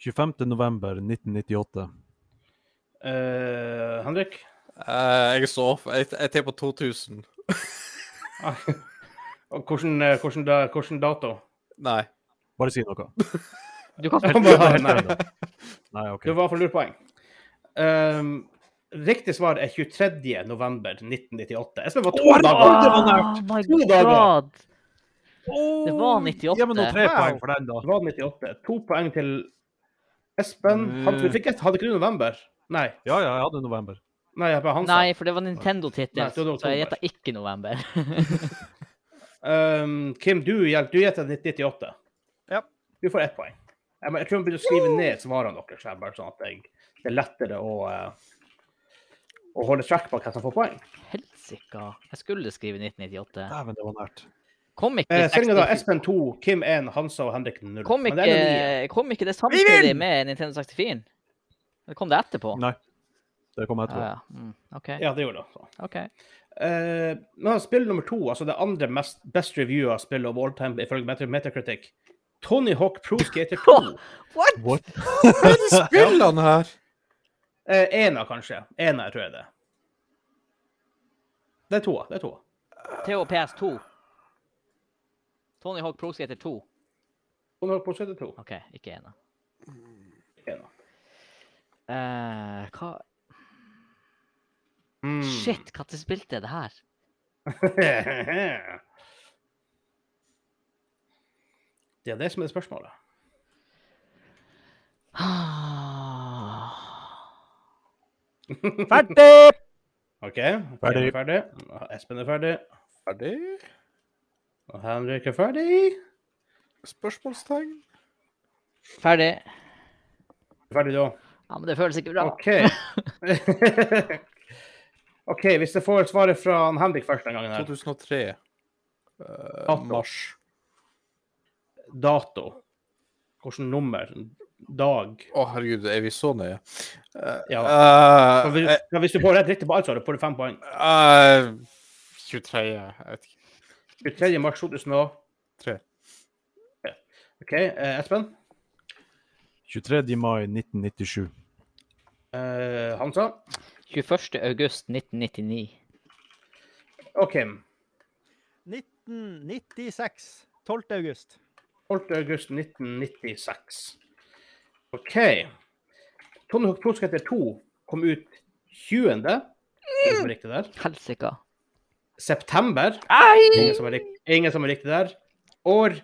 25. november 1998.
Eh, Henrik?
Eh, jeg er så off. Jeg, jeg tipper 2000.
Ah. Og Hvordan, eh, hvordan, da, hvordan dato?
Nei.
Bare si noe.
Du kan
Han bare
spørre.
har nei.
Nei, OK.
Det var for lurt poeng. Um, riktig svar er 23. november 1998. Espen var to
Å, herregud!
dager
det var
Ah, my
To dager.
god! Det var
Åh,
98.
Gi meg nå tre
Wow.
poeng for den, da.
Det var 98. To poeng til Espen. Han du fikk et, hadde ikke du november? Nei.
Ja, ja, jeg hadde november.
Nei, jeg bare han sa.
Nei, for det var
Nei, det var
Nintendo-tittel, så jeg
oktober.
gjetta ikke november.
Um, Kim, du gjetter du gjetter 98.
Ja.
Du får ett poeng. Jeg, men jeg tror han begynner å skrive ned svarene deres, her, bare sånn at jeg, det er lettere å, eh, å holde track på hvem som får poeng.
Helsika. Jeg skulle skrive 1998.
Dæven, det var nært.
Kom ikke
Uh, Stillinga da
64.
Espen 2, Kim 1, Hansa og Henrik 0.
Kom
Men det
ikke,
er noe nye.
kom ikke det samtidig med Nintendo 64? Det kom det etterpå?
Nei. Det kom
Ja,
etterpå.
ja. Mm, OK.
Ja, det gjorde det. Så.
ok.
Eh, men spill nummer to, altså det andre mest, best reviewa spillet of all time ifølge Meta- Metacritic, Tony Hawk Pro Skater 2.
What?!
What?
Hva er de spillene her?
Eh, ena, kanskje. Ena, jeg tror jeg det. er. Det er toa. Det er toa.
Theo PS2. Tony Hawk Pro Skater 2.
Tony Hawk Pro Skater 2.
OK, ikke ena.
Ena.
Eh, hva
Mm.
Shit, når spilte jeg det her?
det er det som er spørsmålet.
Ferdig!
OK, Kim
Ferdig.
er ferdig. Espen er ferdig.
Ferdig?
Og Henrik er ferdig.
Spørsmålstegn?
Ferdig.
Ferdig, da.
Ja, men det føles ikke bra.
OK. OK, hvis jeg får svaret fra han Henrik først den gangen her.
2003. Eh,
Dato.
mars.
Dato. Hvilket nummer? Dag?
Å, herregud, er vi så nøye? Eh,
Ja.
eh,
Og hvis, ja, hvis du får rett riktig på alt, så får du fem poeng.
eh, eh, 23, jeg vet ikke.
23. mars 2003. OK, eh, Espen?
23. mai 1997.
Eh, Hansa?
21. august 1999.
Og Kim?
1996. 12. august.
12. august 1996. OK. Tony Hawk Pro Skater 2 kom ut 20. Ingen som er riktig der.
Helsika.
September.
Ai!
Ingen som er, rik- ingen som er riktig der. År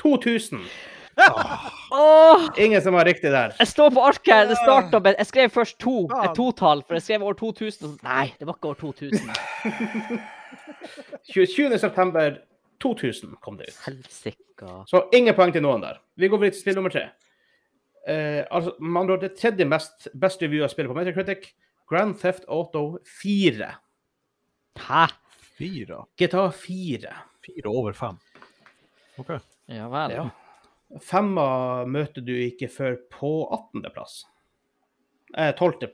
2000.
Åh,
Ingen som var riktig der.
jeg står på arket her! Det starta med Jeg skrev først to, et
Faen.
totall, for jeg skrev år 2000. og så- Nei, det var ikke år 2000.
27. september 2000 kom det ut.
Helsika.
Så ingen poeng til noen der. Vi går videre til spill nummer tre. Eh, altså, med andre ord, det tredje mest best revua spillet på Metacritic, Grand Theft Auto 4.
Hæ?
Fire?
GTA 4.
Fire over fem. OK.
Ja vel.
Ja. Femma møter du ikke før på 18. plass. Eh, 12.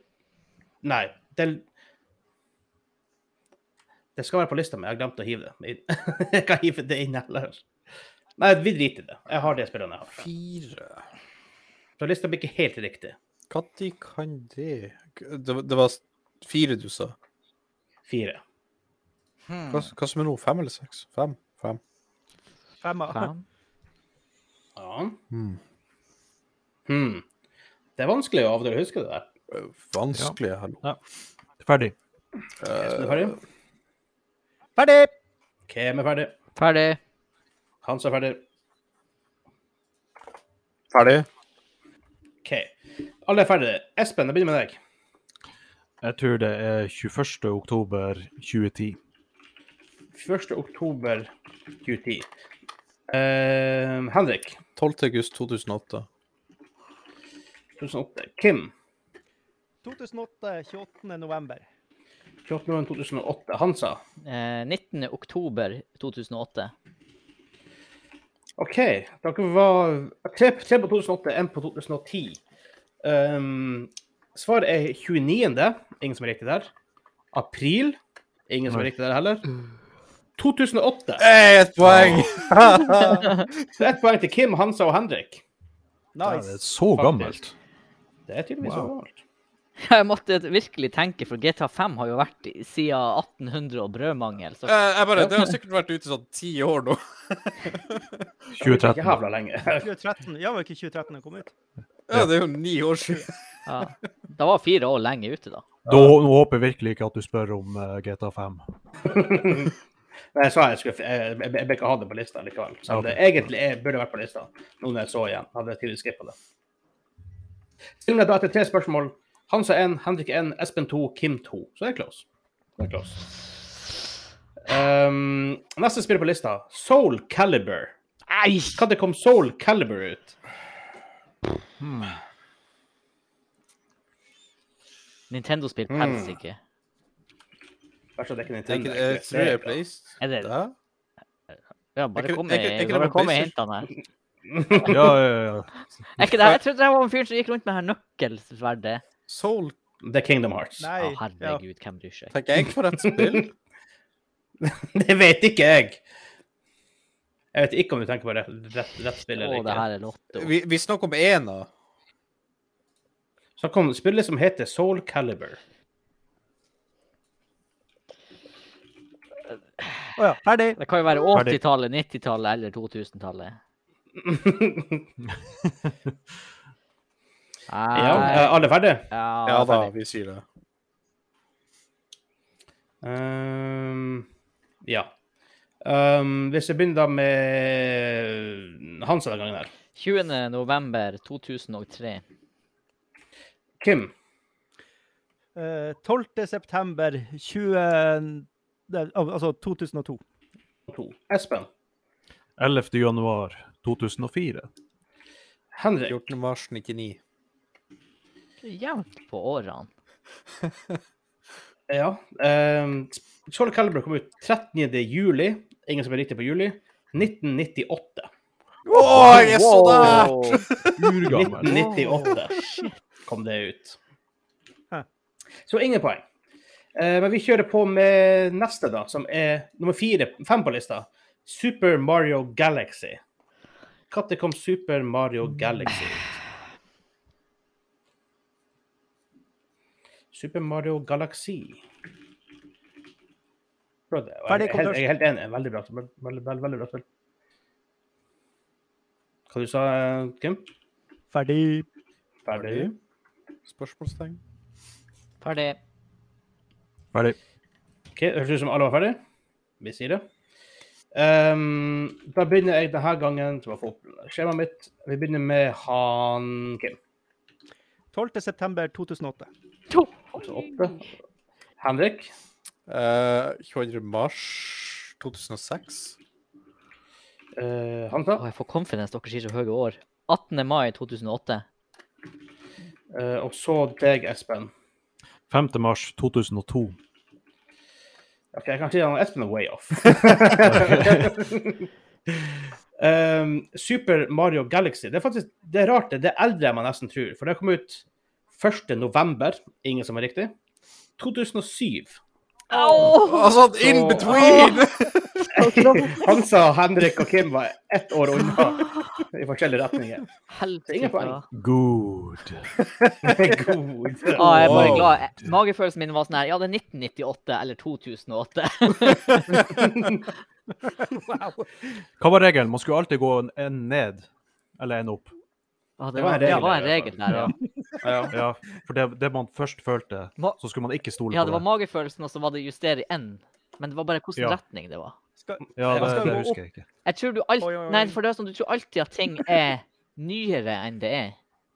Nei, den Det skal være på lista, men jeg har glemt å hive det inn. jeg kan hive det inn heller. Nei, vi driter i det. Jeg har det spillene jeg har.
Fire?
Så lista blir ikke helt riktig.
Når kan det Det, det var fire du sa.
Fire.
Hva, hva som er nå? Fem eller seks? Fem? Fem.
Femmer.
Fem.
Ja. Hmm. Det er vanskelig å av og til huske det der.
Eh, Vanskelig, hallo.
Ferdig.
Espen er ferdig.
Ferdig!
Hvem er ferdig?
Ferdig.
Hans er ferdig.
Ferdig?
OK. Alle er ferdige. Espen, jeg begynner med deg.
Jeg tror det er 21. oktober 2010.
1. oktober 2010. Eh, Henrik
12. august 2008.
2008. Kim
2008, 28. november.
28. november 2008. Hansa.
Eh, 19. oktober 2008.
OK. Dere var tre, tre på 2008, én på 2010. Um, svaret er 29. Ingen som er riktig der. April. Ingen som er riktig der heller. 2008.
Hey, Eh, et poeng!
Så ett poeng til Kim, Hansa og Henrik.
Det er
Nice.
så gammelt.
Faktisk. Det er tydeligvis
Wow.
så gammelt.
Jeg måtte virkelig tenke, for GTA 5 har jo vært i- siden 1800 og brødmangel. Så
Eh, jeg bare, det har sikkert vært ute i sånn ti år nå.
2013.
Jævla lenge.
2013. Ja, var ikke 2013 den kom ut?
Ja, det er jo ni år siden.
ja. Da var fire år lenge ute, da.
Da nå håper jeg virkelig ikke at du spør om eh, GTA 5.
Men jeg sa jeg skulle Jeg jeg- jeg bør ikke ha det på lista likevel. Så det egentlig er, burde vært på lista, nå når jeg så igjen. Hadde jeg tidligere skippet det. Stillingen er da etter tre spørsmål. Hansa 1, Henrik 1, Espen 2, Kim 2. Så det er close. Det er close. Ehm, neste spill på lista, Soul Caliber.
Nei!
Når kom Soul Caliber ut?
Nintendo-spill helst ikke.
Vær så det ikke
Det er
Nintendo.
ikke, jeg tror jeg er
Det er-
Place.
Er det-
Hæ?
Ja,
Er
bare
ikke-
kom
er ikke- er
med,
ikke det
bare
med
kom med hintene
PlayStation?
her.
Ja, ja, ja.
Er ikke det her? Jeg trodde det var en fyr som gikk rundt med det her nøkkelsverdet.
Soul,
Det er Kingdom Hearts.
Å,
Nei. Ja.
herregud, hvem bryr seg?
tenker jeg for et spill.
Det vet ikke jeg. Jeg vet ikke om du tenker på rett, rett, rett spill
Å,
eller
det
ikke.
her er lotto.
Vi, vi snakker om én av
Så kom spillet som heter Soul Caliber.
Å ja. Ferdig.
Det kan jo være
Ferdig.
80-tallet, 90-tallet eller 2000-tallet.
Ja,
Nei.
eh, alle ferdige?
Ja
Ja,
da,
ferdig.
vi sier det.
Ehm, ja. Ehm, hvis jeg begynner da med Hansa den gangen her.
20. november 2003.
Kim,
Eh, 12. september 20... det- al- Altså 2002.
to. Espen,
11. januar 2004.
Henrik,
14. mars 99.
Jevnt på årene.
Ja. ehm, Soul Calibur kom ut 13. juli. Ingen som er riktig på juli. 1998.
Å, jeg er så der!
Urgammel.
1998 kom det ut.
Hæ.
Så ingen poeng. Eh, men vi kjører på med neste, da, som er nummer fire, fem på lista. Super Mario Galaxy. Når kom Super Mario Galaxy ut? Super Mario Galaxy. Prøv det. Jeg,
Ferdig, kom
er helt-
først.
jeg er helt enig. Veldig bra. Veldig, veldig, veldig, veldig bra spill. Hva du sa du, Kim?
Ferdig.
Ferdig.
Spørsmålstegn.
Ferdig.
Ferdig.
Ok, Høres ut som alle var ferdige. Vi sier det. Ehm, da begynner jeg denne gangen til å få opp skjemaet mitt. Vi begynner med han Kim.
12.9.2008.
Så åtte. Henrik.
Eh, 22. mars 2006.
eh, Hansa.
Å, jeg får confidence dere sier så høye år. 18. mai 2008.
eh, og så deg, Espen.
5. mars 2002.
Ok, jeg kan si han Espen er way off. Ehm, Super Mario Galaxy. Det er faktisk det er rart, det. Det er eldre enn man nesten tror. For det kom ut 1. november. Ingen som er riktig. 2007.
Altså, in
Så-
between!
Hansa, Henrik og Kim var ett år unna i forskjellige retninger.
Helvete.
Ingen poeng.
ja.
Good.
God.
Å, jeg er bare
Wow.
glad. Jeg- Magefølelsen min var sånn her Ja, det er 1998 eller 2008.
Wow.
Hva var regelen? Man skulle alltid gå en, en ned, eller en opp.
Å, det,
Det var
var,
en
det
regel der, i
var en
hvert
regel der, ja.
Ja, for det, det man først følte,
Ma-
så skulle man ikke stole
Ja,
på
det var magefølelsen, og så var det justere i N. Men det var bare hvilken
Ja.
retning det var.
Skal,
Ja,
Man
det,
skal
det
gå opp.
husker jeg ikke.
Jeg tror du alt...
Oi, oi, oi.
Nei, for det er sånn, du tror alltid at ting er nyere enn det er.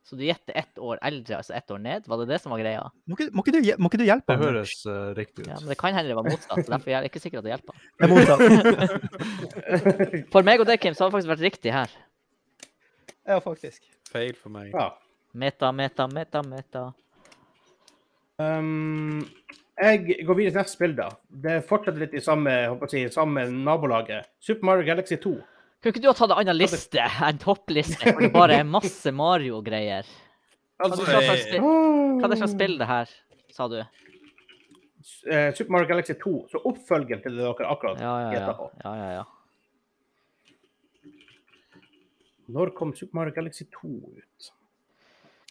Så du gjetter ett år eldre, altså ett år ned. Var det det som var greia?
må, ikke, må, ikke du, hje- må ikke du hjelpe
Det
ham?
høres eh, riktig ut.
Ja, men det kan hende det var motsatt, så derfor er jeg ikke sikker at det hjelper.
Jeg mottar.
For meg og deg, Kim, så har det faktisk vært riktig her.
Ja, faktisk.
Feil for meg.
Ja.
Meta, meta, meta, meta.
Um, jeg går videre til neste spill, da. Det fortsetter litt i samme, jeg håper å si, samme nabolaget. Super Mario Galaxy 2.
Kunne ikke du ha tatt en annen liste enn toppliste, hvor det bare er masse Mario-greier? Hva
Altså,
er det slags
eh,
spill- hva er det slags spill det her, sa du?
Eh, Super Mario Galaxy 2, så oppfølgeren til det dere akkurat
Ja, ja, ja.
gjettet på.
ja, ja, ja.
Når kom Super Mario Galaxy 2 ut?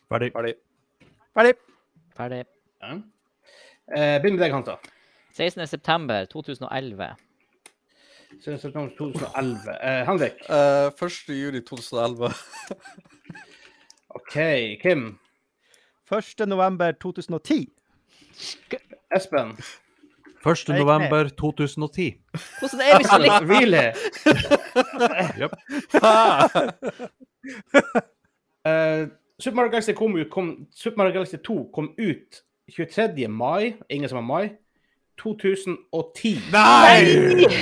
Ferdig.
ferdig.
Ferdig.
Ferdig.
Ja. Eh, Begynn med deg, Hansa.
16.9.2011.
2011. Eh, Henrik.
Eh, 1. juli 2011.
OK. Kim.
1. november 2010.
Espen.
1.
Jeg gikk
november 2010.
Hvordan er vi så like?
Really?
Jep.
Eh, Super, Mario Galaxy kom, ut- kom, Super Mario Galaxy 2 kom ut 23. mai, ingen som har mai, 2010.
Nei!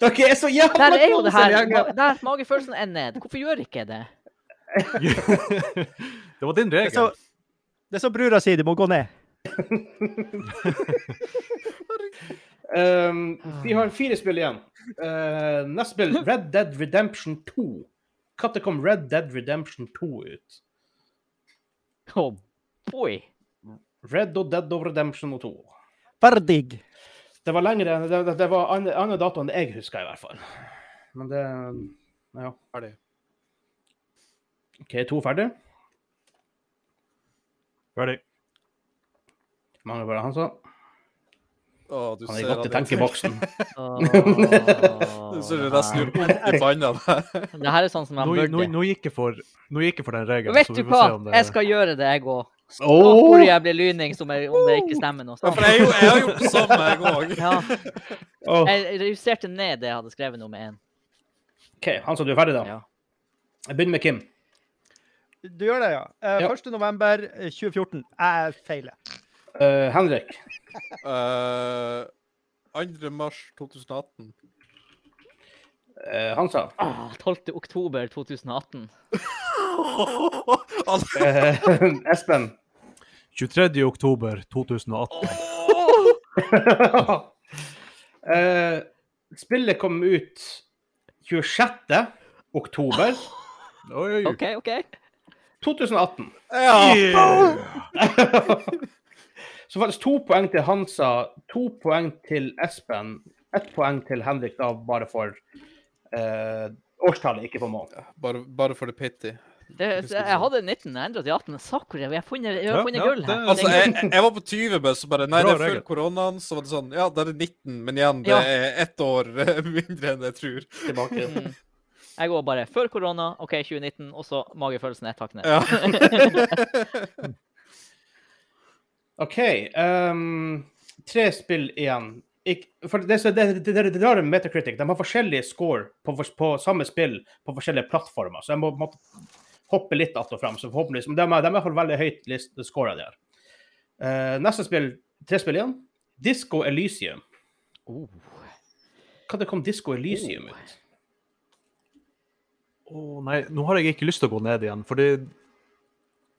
Dere er så jævla
Der er jo det her.
konstige gjenger.
ma- Der magefølelsen er ned. Hvorfor gjør ikke jeg det?
det var din
Det er så,
regel.
det er så brura sier, du må gå ned.
Um,
Mm.
vi har fire spill igjen. Eh, neste spill, Red Dead Redemption 2. Når kom Red Dead Redemption 2 ut?
Oh boy.
Red og Dead of Redemption 2.
Ferdig.
Det var lengre enn det, det- det var andre, andre dato enn jeg husker, i hvert fall. Men det Ja.
Ferdig.
OK, to ferdig.
Ferdig.
Mangler bare altså. han, så.
Å, du
Han er
ser
godt i
han er-
tenkeboksen.
Åh,
Du ser det nesten gjør vondt i panna. der.
Det her er sånn som jeg
Nå, nå,
burde.
nå, gikk jeg for, nå gikk jeg for den regelen,
Vet
så
du
vi får
hva?
se om det
Jeg skal gjøre det, jeg òg.
Åh!
Hvor jeg blir lyning som jeg, om det ikke stemmer noe.
Ja, For jeg, er jo- jeg har gjort det samme, jeg òg.
Ja,
Åh.
jeg justerte ned det jeg hadde skrevet nummer én.
OK, Hansa, du er ferdig, da?
Ja.
Jeg begynner med Kim.
Du gjør det, ja. Eh,
Ja.
1. november eh, 2014. Jeg feiler.
Eh, Henrik.
Eh, 2. mars 2018.
Eh, Hansa.
Ah, 12. oktober 2018.
Altså,
Eh, Espen.
23. oktober 2018.
Eh, spillet kom ut 26. oktober
Oi,
OK, OK.
2018.
ja.
Så faktisk to poeng til Hansa, to poeng til Espen, ett poeng til Henrik, da bare for eh, årstallet, ikke for måneden.
Bare, bare for det pitty.
Det, jeg hadde 19, jeg endret til 18. Sakura, jeg har funnet, jeg
Ja,
har funnet
ja,
gull
det-
her.
Altså, jeg, jeg var på 20, men så bare Nei,
Bra
det er før
regel.
koronaen. Så var det sånn Ja, da er det 19, men igjen, det
Ja.
er ett år eh, mindre enn jeg tror.
Tilbake.
Mm. Jeg går bare før korona, OK, 2019, og så magefølelsen er takk ned.
Ja.
OK. ehm, tre spill igjen. ikk- for det, som- det, det, det, det rare med Metacritic, de har forskjellige score på, fors- på samme spill på forskjellige plattformer. Så jeg må, må hoppe litt att og fram. Så forhåpentligvis, men de, er- de er i hvert fall veldig høyt list- scoret der. Eh, neste spill, tre spill igjen. Disco Elysium.
Oh.
Hva det kom Disco Elysium ut?
Å nei, nå har jeg ikke lyst til å gå ned igjen, fordi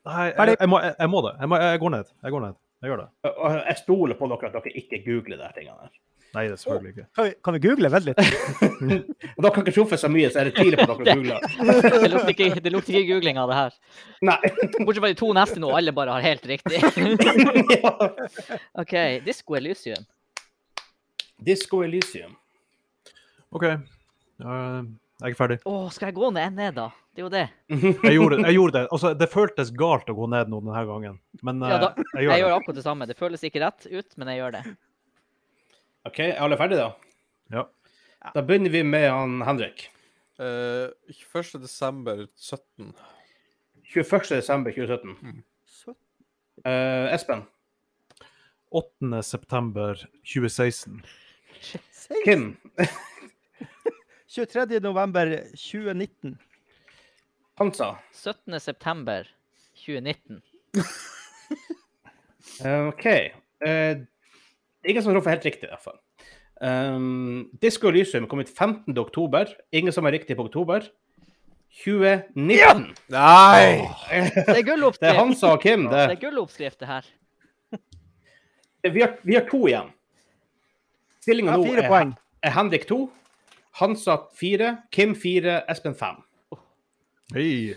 Nei, jeg,
Ferdig.
jeg, må, jeg, jeg må det. Jeg, må, jeg går ned. Jeg går ned. Jeg gjør det.
Og- og Jeg stoler på dere at dere ikke googler de her tingene. her.
Nei, det er selvfølgelig ikke.
Kan vi, kan vi google? Vent litt.
Og dere har ikke truffet så mye, så er det tidlig på at dere googler.
Det lukter ikke, det lukter ikke googling av det her.
Nei.
Bortsett fra de to neste nå, alle bare har helt riktig.
ja.
OK, Disco Elysium.
Disco Elysium.
OK. Eh, jeg er ferdig.
Å, skal jeg gå ned en ned, da? Det er jo det.
Jeg gjorde, jeg gjorde det. Altså, det føltes galt å gå ned nå denne gangen, men
Ja, da-
eh,
Jeg
jeg gjør
gjør
det.
akkurat det samme. Det føles ikke rett ut, men jeg gjør det.
OK, er alle ferdige, da?
Ja.
Da begynner vi med han Henrik.
Eh, 21. desember 17.
21. desember 2017. Eh, Espen,
8. september 2016.
Kim,
23. november 2019.
Hansa,
17. september 2019.
Eh, OK. Eh, ingen som truffer helt riktig, i hvert fall. Um, Disko Elysium kom ut 15. oktober. Ingen som er riktig på oktober. 2019.
Nei!
Det er gulloppskrift.
Det er Hansa og Kim.
Det er
Det.
gulloppskrift, det her.
Vi, har, vi har to igjen.
Jeg
Stillinga
har
nå
fire
er,
poeng.
er Henrik 2, Hansa 4, Kim 4, Espen 5.
Hei.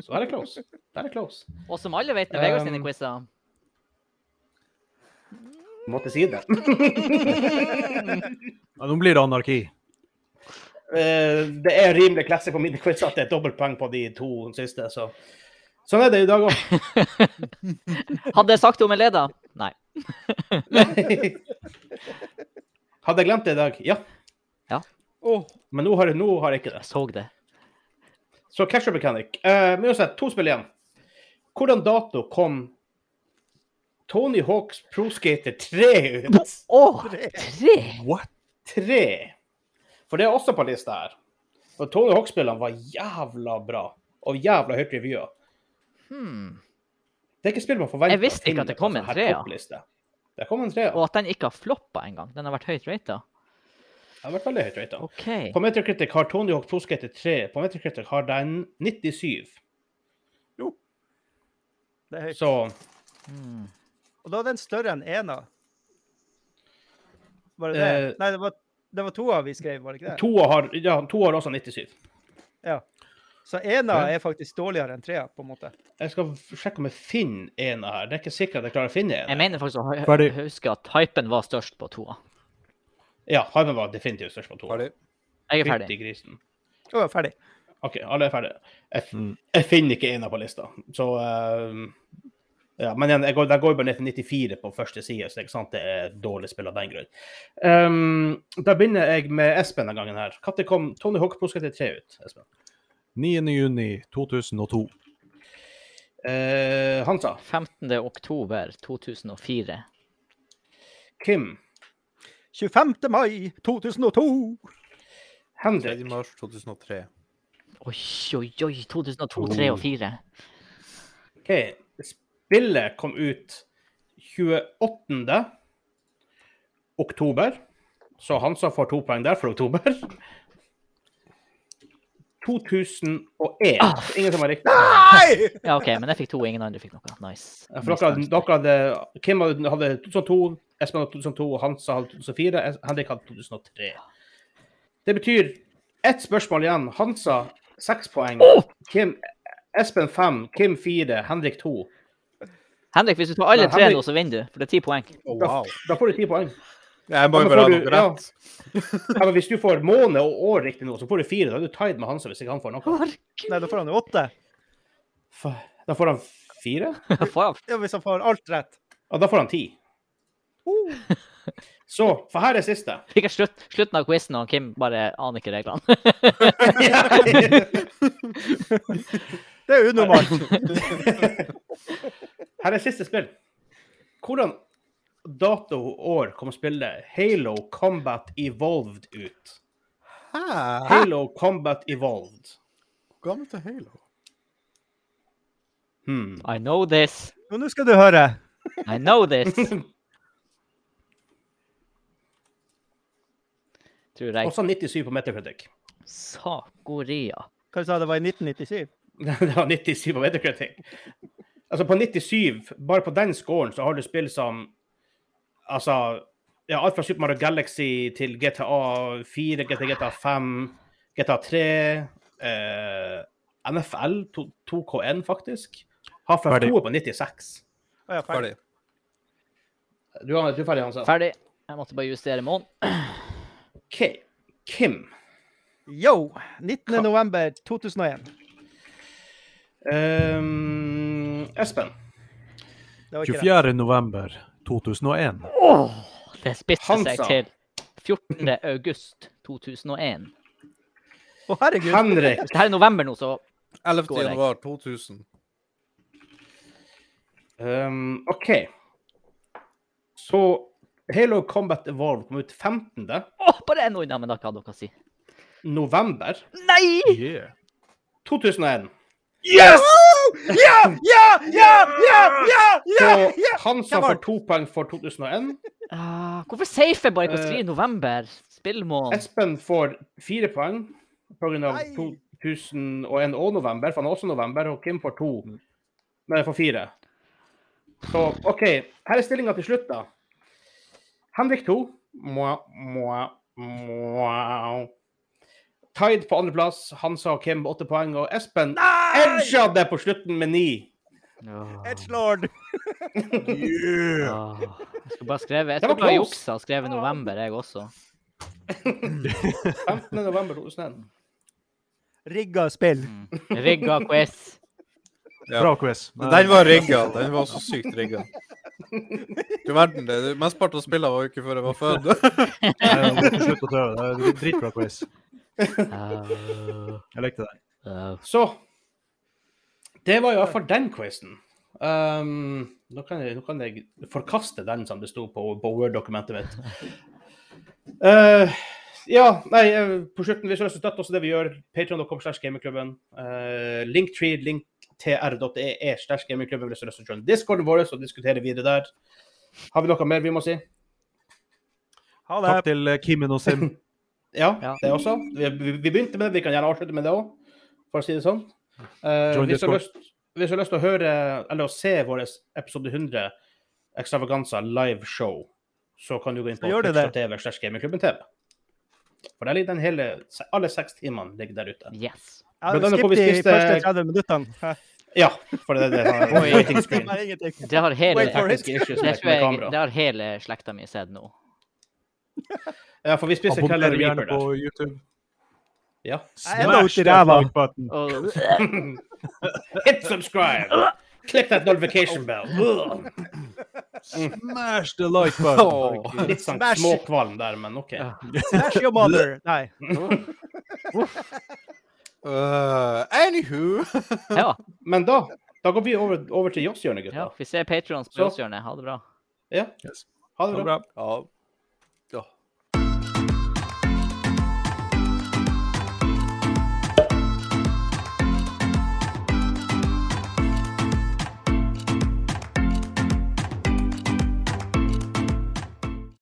Så er det close. Da er det close.
Og som alle vet, når Vegard sine
Um,
quizer
Måtte si det.
Ja, nå blir det anarki.
Eh, det er rimelig klasse på mine quiz at det er dobbeltpoeng på de to siste, så Sånn er det i dag òg.
Hadde jeg sagt det om en leder? Nei.
Hadde jeg glemt det i dag? Ja.
Ja.
Åh.
Men nå har, jeg- nå har jeg ikke det.
Jeg så det.
Så Casher Mechanic. Eh, men uansett, to spill igjen. Hvordan dato kom Tony Hawks Pro Skater 3 ut?
Å, tre!
What?
3. For det er også på lista her. Og Tony Hawk-spillene var jævla bra, og jævla høyt revyer.
Hmm.
Det er ikke spill man forventer.
Jeg visste ikke at det kom en treer.
Ja. sånn Det kom en treer.
Og at den ikke har floppa engang. Den har vært høyt rata.
Det har vært veldig høyt rata.
OK.
På Metacritic har Tony Hawk Pro Skater 3 På Metacritic har den 97.
Det er høyt.
Så
Hmm.
Og da er den større enn ena. Var det
Eh.
det? Nei, det var, det var toa vi skrev, var det ikke det?
to har, ja, to har også 97.
Ja. Så ena er faktisk dårligere enn trea, på en måte.
Jeg skal sjekke om jeg finner en av her. Det er ikke sikkert jeg klarer å finne
Jeg
en.
mener faktisk å hø-
Ferdig.
huske at hypen var størst på toa.
Ja, Hymen var definitivt størst på to.
Ferdig.
Jeg er ferdig.
Fytti grisen.
Å, ja, ferdig.
OK, alle er ferdige. Jeg,
Mm.
jeg finner ikke en av på lista. Så eh, ja, Men igjen, jeg går, jeg går jo bare ned til 94 på første side, så det er ikke sant det er dårlig spill av den grunn. Ehm, da begynner jeg med Espen denne gangen her. Når kom Tony Hawk Pro Skater 3 ut? Espen?
9. juni 2002.
Eh, Hansa,
15. oktober 2004.
Kim,
25. mai 2002!
Henrik
3. mars 2003.
Oi, oi, oi. 2002, 2003
Oh.
og 2004.
OK. Spillet kom ut 28. oktober. Så Hansa får to poeng der for oktober. 2001.
Ah.
Så Ingen som har riktig.
Nei!
Ja, OK, men jeg fikk to, ingen andre fikk noe. Nice.
Ja, For dere, hadde- dere hadde, Kim hadde hadde 2002, Espen hadde 2002, Hansa hadde 2004, Es- Henrik hadde 2003. Det betyr ett spørsmål igjen. Hansa seks poeng. Kim, Espen fem, Kim fire, Henrik to.
Henrik, hvis du tar alle
Nei,
tre
Henrik-
nå, så vinner du, for det er ti poeng.
Da, da får du ti poeng.
Jeg må
Ja, men
jo bare ha
får du-
noe rett.
Ja, men hvis du får måned og år riktig nå, så får du fire. Da er du tied med Hansa hvis ikke han får noe.
Nei, da får han jo åtte.
F- Da får han fire,
Faen.
Ja, hvis han får alt rett.
og da får han ti.
Uh.
Så, for her er siste.
Fikk jeg slutt, slutten av quizen, og Kim bare aner ikke reglene.
Det er unormalt.
Her er siste spill. Hvordan dato og år kom spillet Halo Combat Evolved ut.
Hæ?
Halo Combat Evolved.
Hvor gammelt er Halo?
Hmm.
I know this.
Og nå skal du høre.
I know this. Tror jeg.
Også 97 på Metacritic.
Sakoria.
Hva du sa du, det var i 1997?
Det var 97 på Metacritic. Altså, på 97, bare på den scoren, så har du spill som Altså ja, Alt fra Super Mario Galaxy til GTA 4, GTA, GTA 5, GTA 3 eh, NFL, to- 2KN, faktisk. Har fra
Ferdig.
2 på 96.
Å ja, ferdig.
Ferdig.
Du er du er ferdig, Hansa?
Ferdig. Jeg måtte bare justere månen.
OK. Kim.
Yo! 19. november 2001.
Ehm, Espen.
Det var ikke det.
24. november 2001.
Det spiste seg
Hansa.
til 14. august 2001.
Å, herregud.
Henrik.
Hvis det her er november nå, så
11.
Går jeg.
januar 2000.
Ehm, OK. Så Halo Combat Evolved kom ut 15.
Å, bare én unna, men da kan dere si.
november
Nei!
2001.
Yes! Ja! Ja! Ja! Ja! Ja!
Så
Ja! ja!
Hansa
det var-
får to poeng for 2001.
Ah, hvorfor safer jeg bare ikke å
Eh,
skrive november? Spillmåned.
Espen får fire poeng pga.
Nei.
2001 og november, for han er også november. Og Kim får to. Nei, får fire. Så OK, her er stillinga til slutt, da. Henrik to. Mwah, mwah, mwah. Tide på andreplass. Hansa og Kim med åtte poeng. Og Espen edga det på slutten med ni.
Åh,
Edgelord.
åh. Jeg skulle bare skrevet Jeg
Det var
skulle
close.
bare juksa og skrevet november, jeg også.
15. november 2001.
Rigga spill.
Mm. Rigga quiz.
Ja.
Bra quiz.
Den var rigga. Den var så sykt rigga. Du verden, det det mesteparten av spillene var jo ikke før jeg var født.
Eh, må ikke slutte å prøve. Det er en Dritbra quiz.
Ah,
Jeg likte den.
ah.
Så Det var i hvert fall den quizen. Um, nå, kan jeg, nå kan jeg forkaste den som det sto på, på Word-dokumentet mitt. Eh, ja, nei, eh, på slutten, hvis du har lyst til å støtte oss i det vi gjør, patreon.com slash gamingklubben. Uh, linktree, linktr.ee slash gamingklubben hvis du har lyst til å joine discorden vår og diskutere videre der. Har vi noe mer vi må si?
Ha det.
Takk til eh, Kimen og Sim.
Ja,
Ja.
det også. Vi, vi, vi begynte med det, vi kan gjerne avslutte med det òg, for å si det sånn. Eh,
Join
hvis, du har
Discord.
lyst, hvis du har lyst til å høre eller å se vår episode 100 Extravaganza live show, så kan du gå inn på
Så gjør du det.
twitch.tv slash gamingklubben TV. For der ligger den hele, alle seks timene ligger der ute.
Yes.
Ja,
Men da må
Skipp
vi
de
spise-
første 30 minuttene. Hæ?
Ja, for det, det, det,
Oi.
waiting screen.
Nei, ingenting.
Det har hele,
Wait
det
for it.
Tekniske issues med,
tror
med
jeg, det
kamera.
har hele slekta mi sett nå.
Ja, for vi spiser Keller
Abonner
Reaper
gjerne på
der.
YouTube.
Ja.
Jeg er enda ute i ræva.
button.
Og,
Hit subscribe! Click that notification bell. Ugh.
Smash the like button.
Litt sånn
Smash.
småkvalm der, men OK.
Ja.
Smash your mother. Nei.
Uh, anywho
ja,
Men da, da går vi over, over til Joss-hjørnet,
ja,
gutter.
vi ser Patrons på
Så.
Åshjørnet. Ha det bra.
Ja.
Yes.
Ha
Ha
det
det
bra.
bra.
Ja.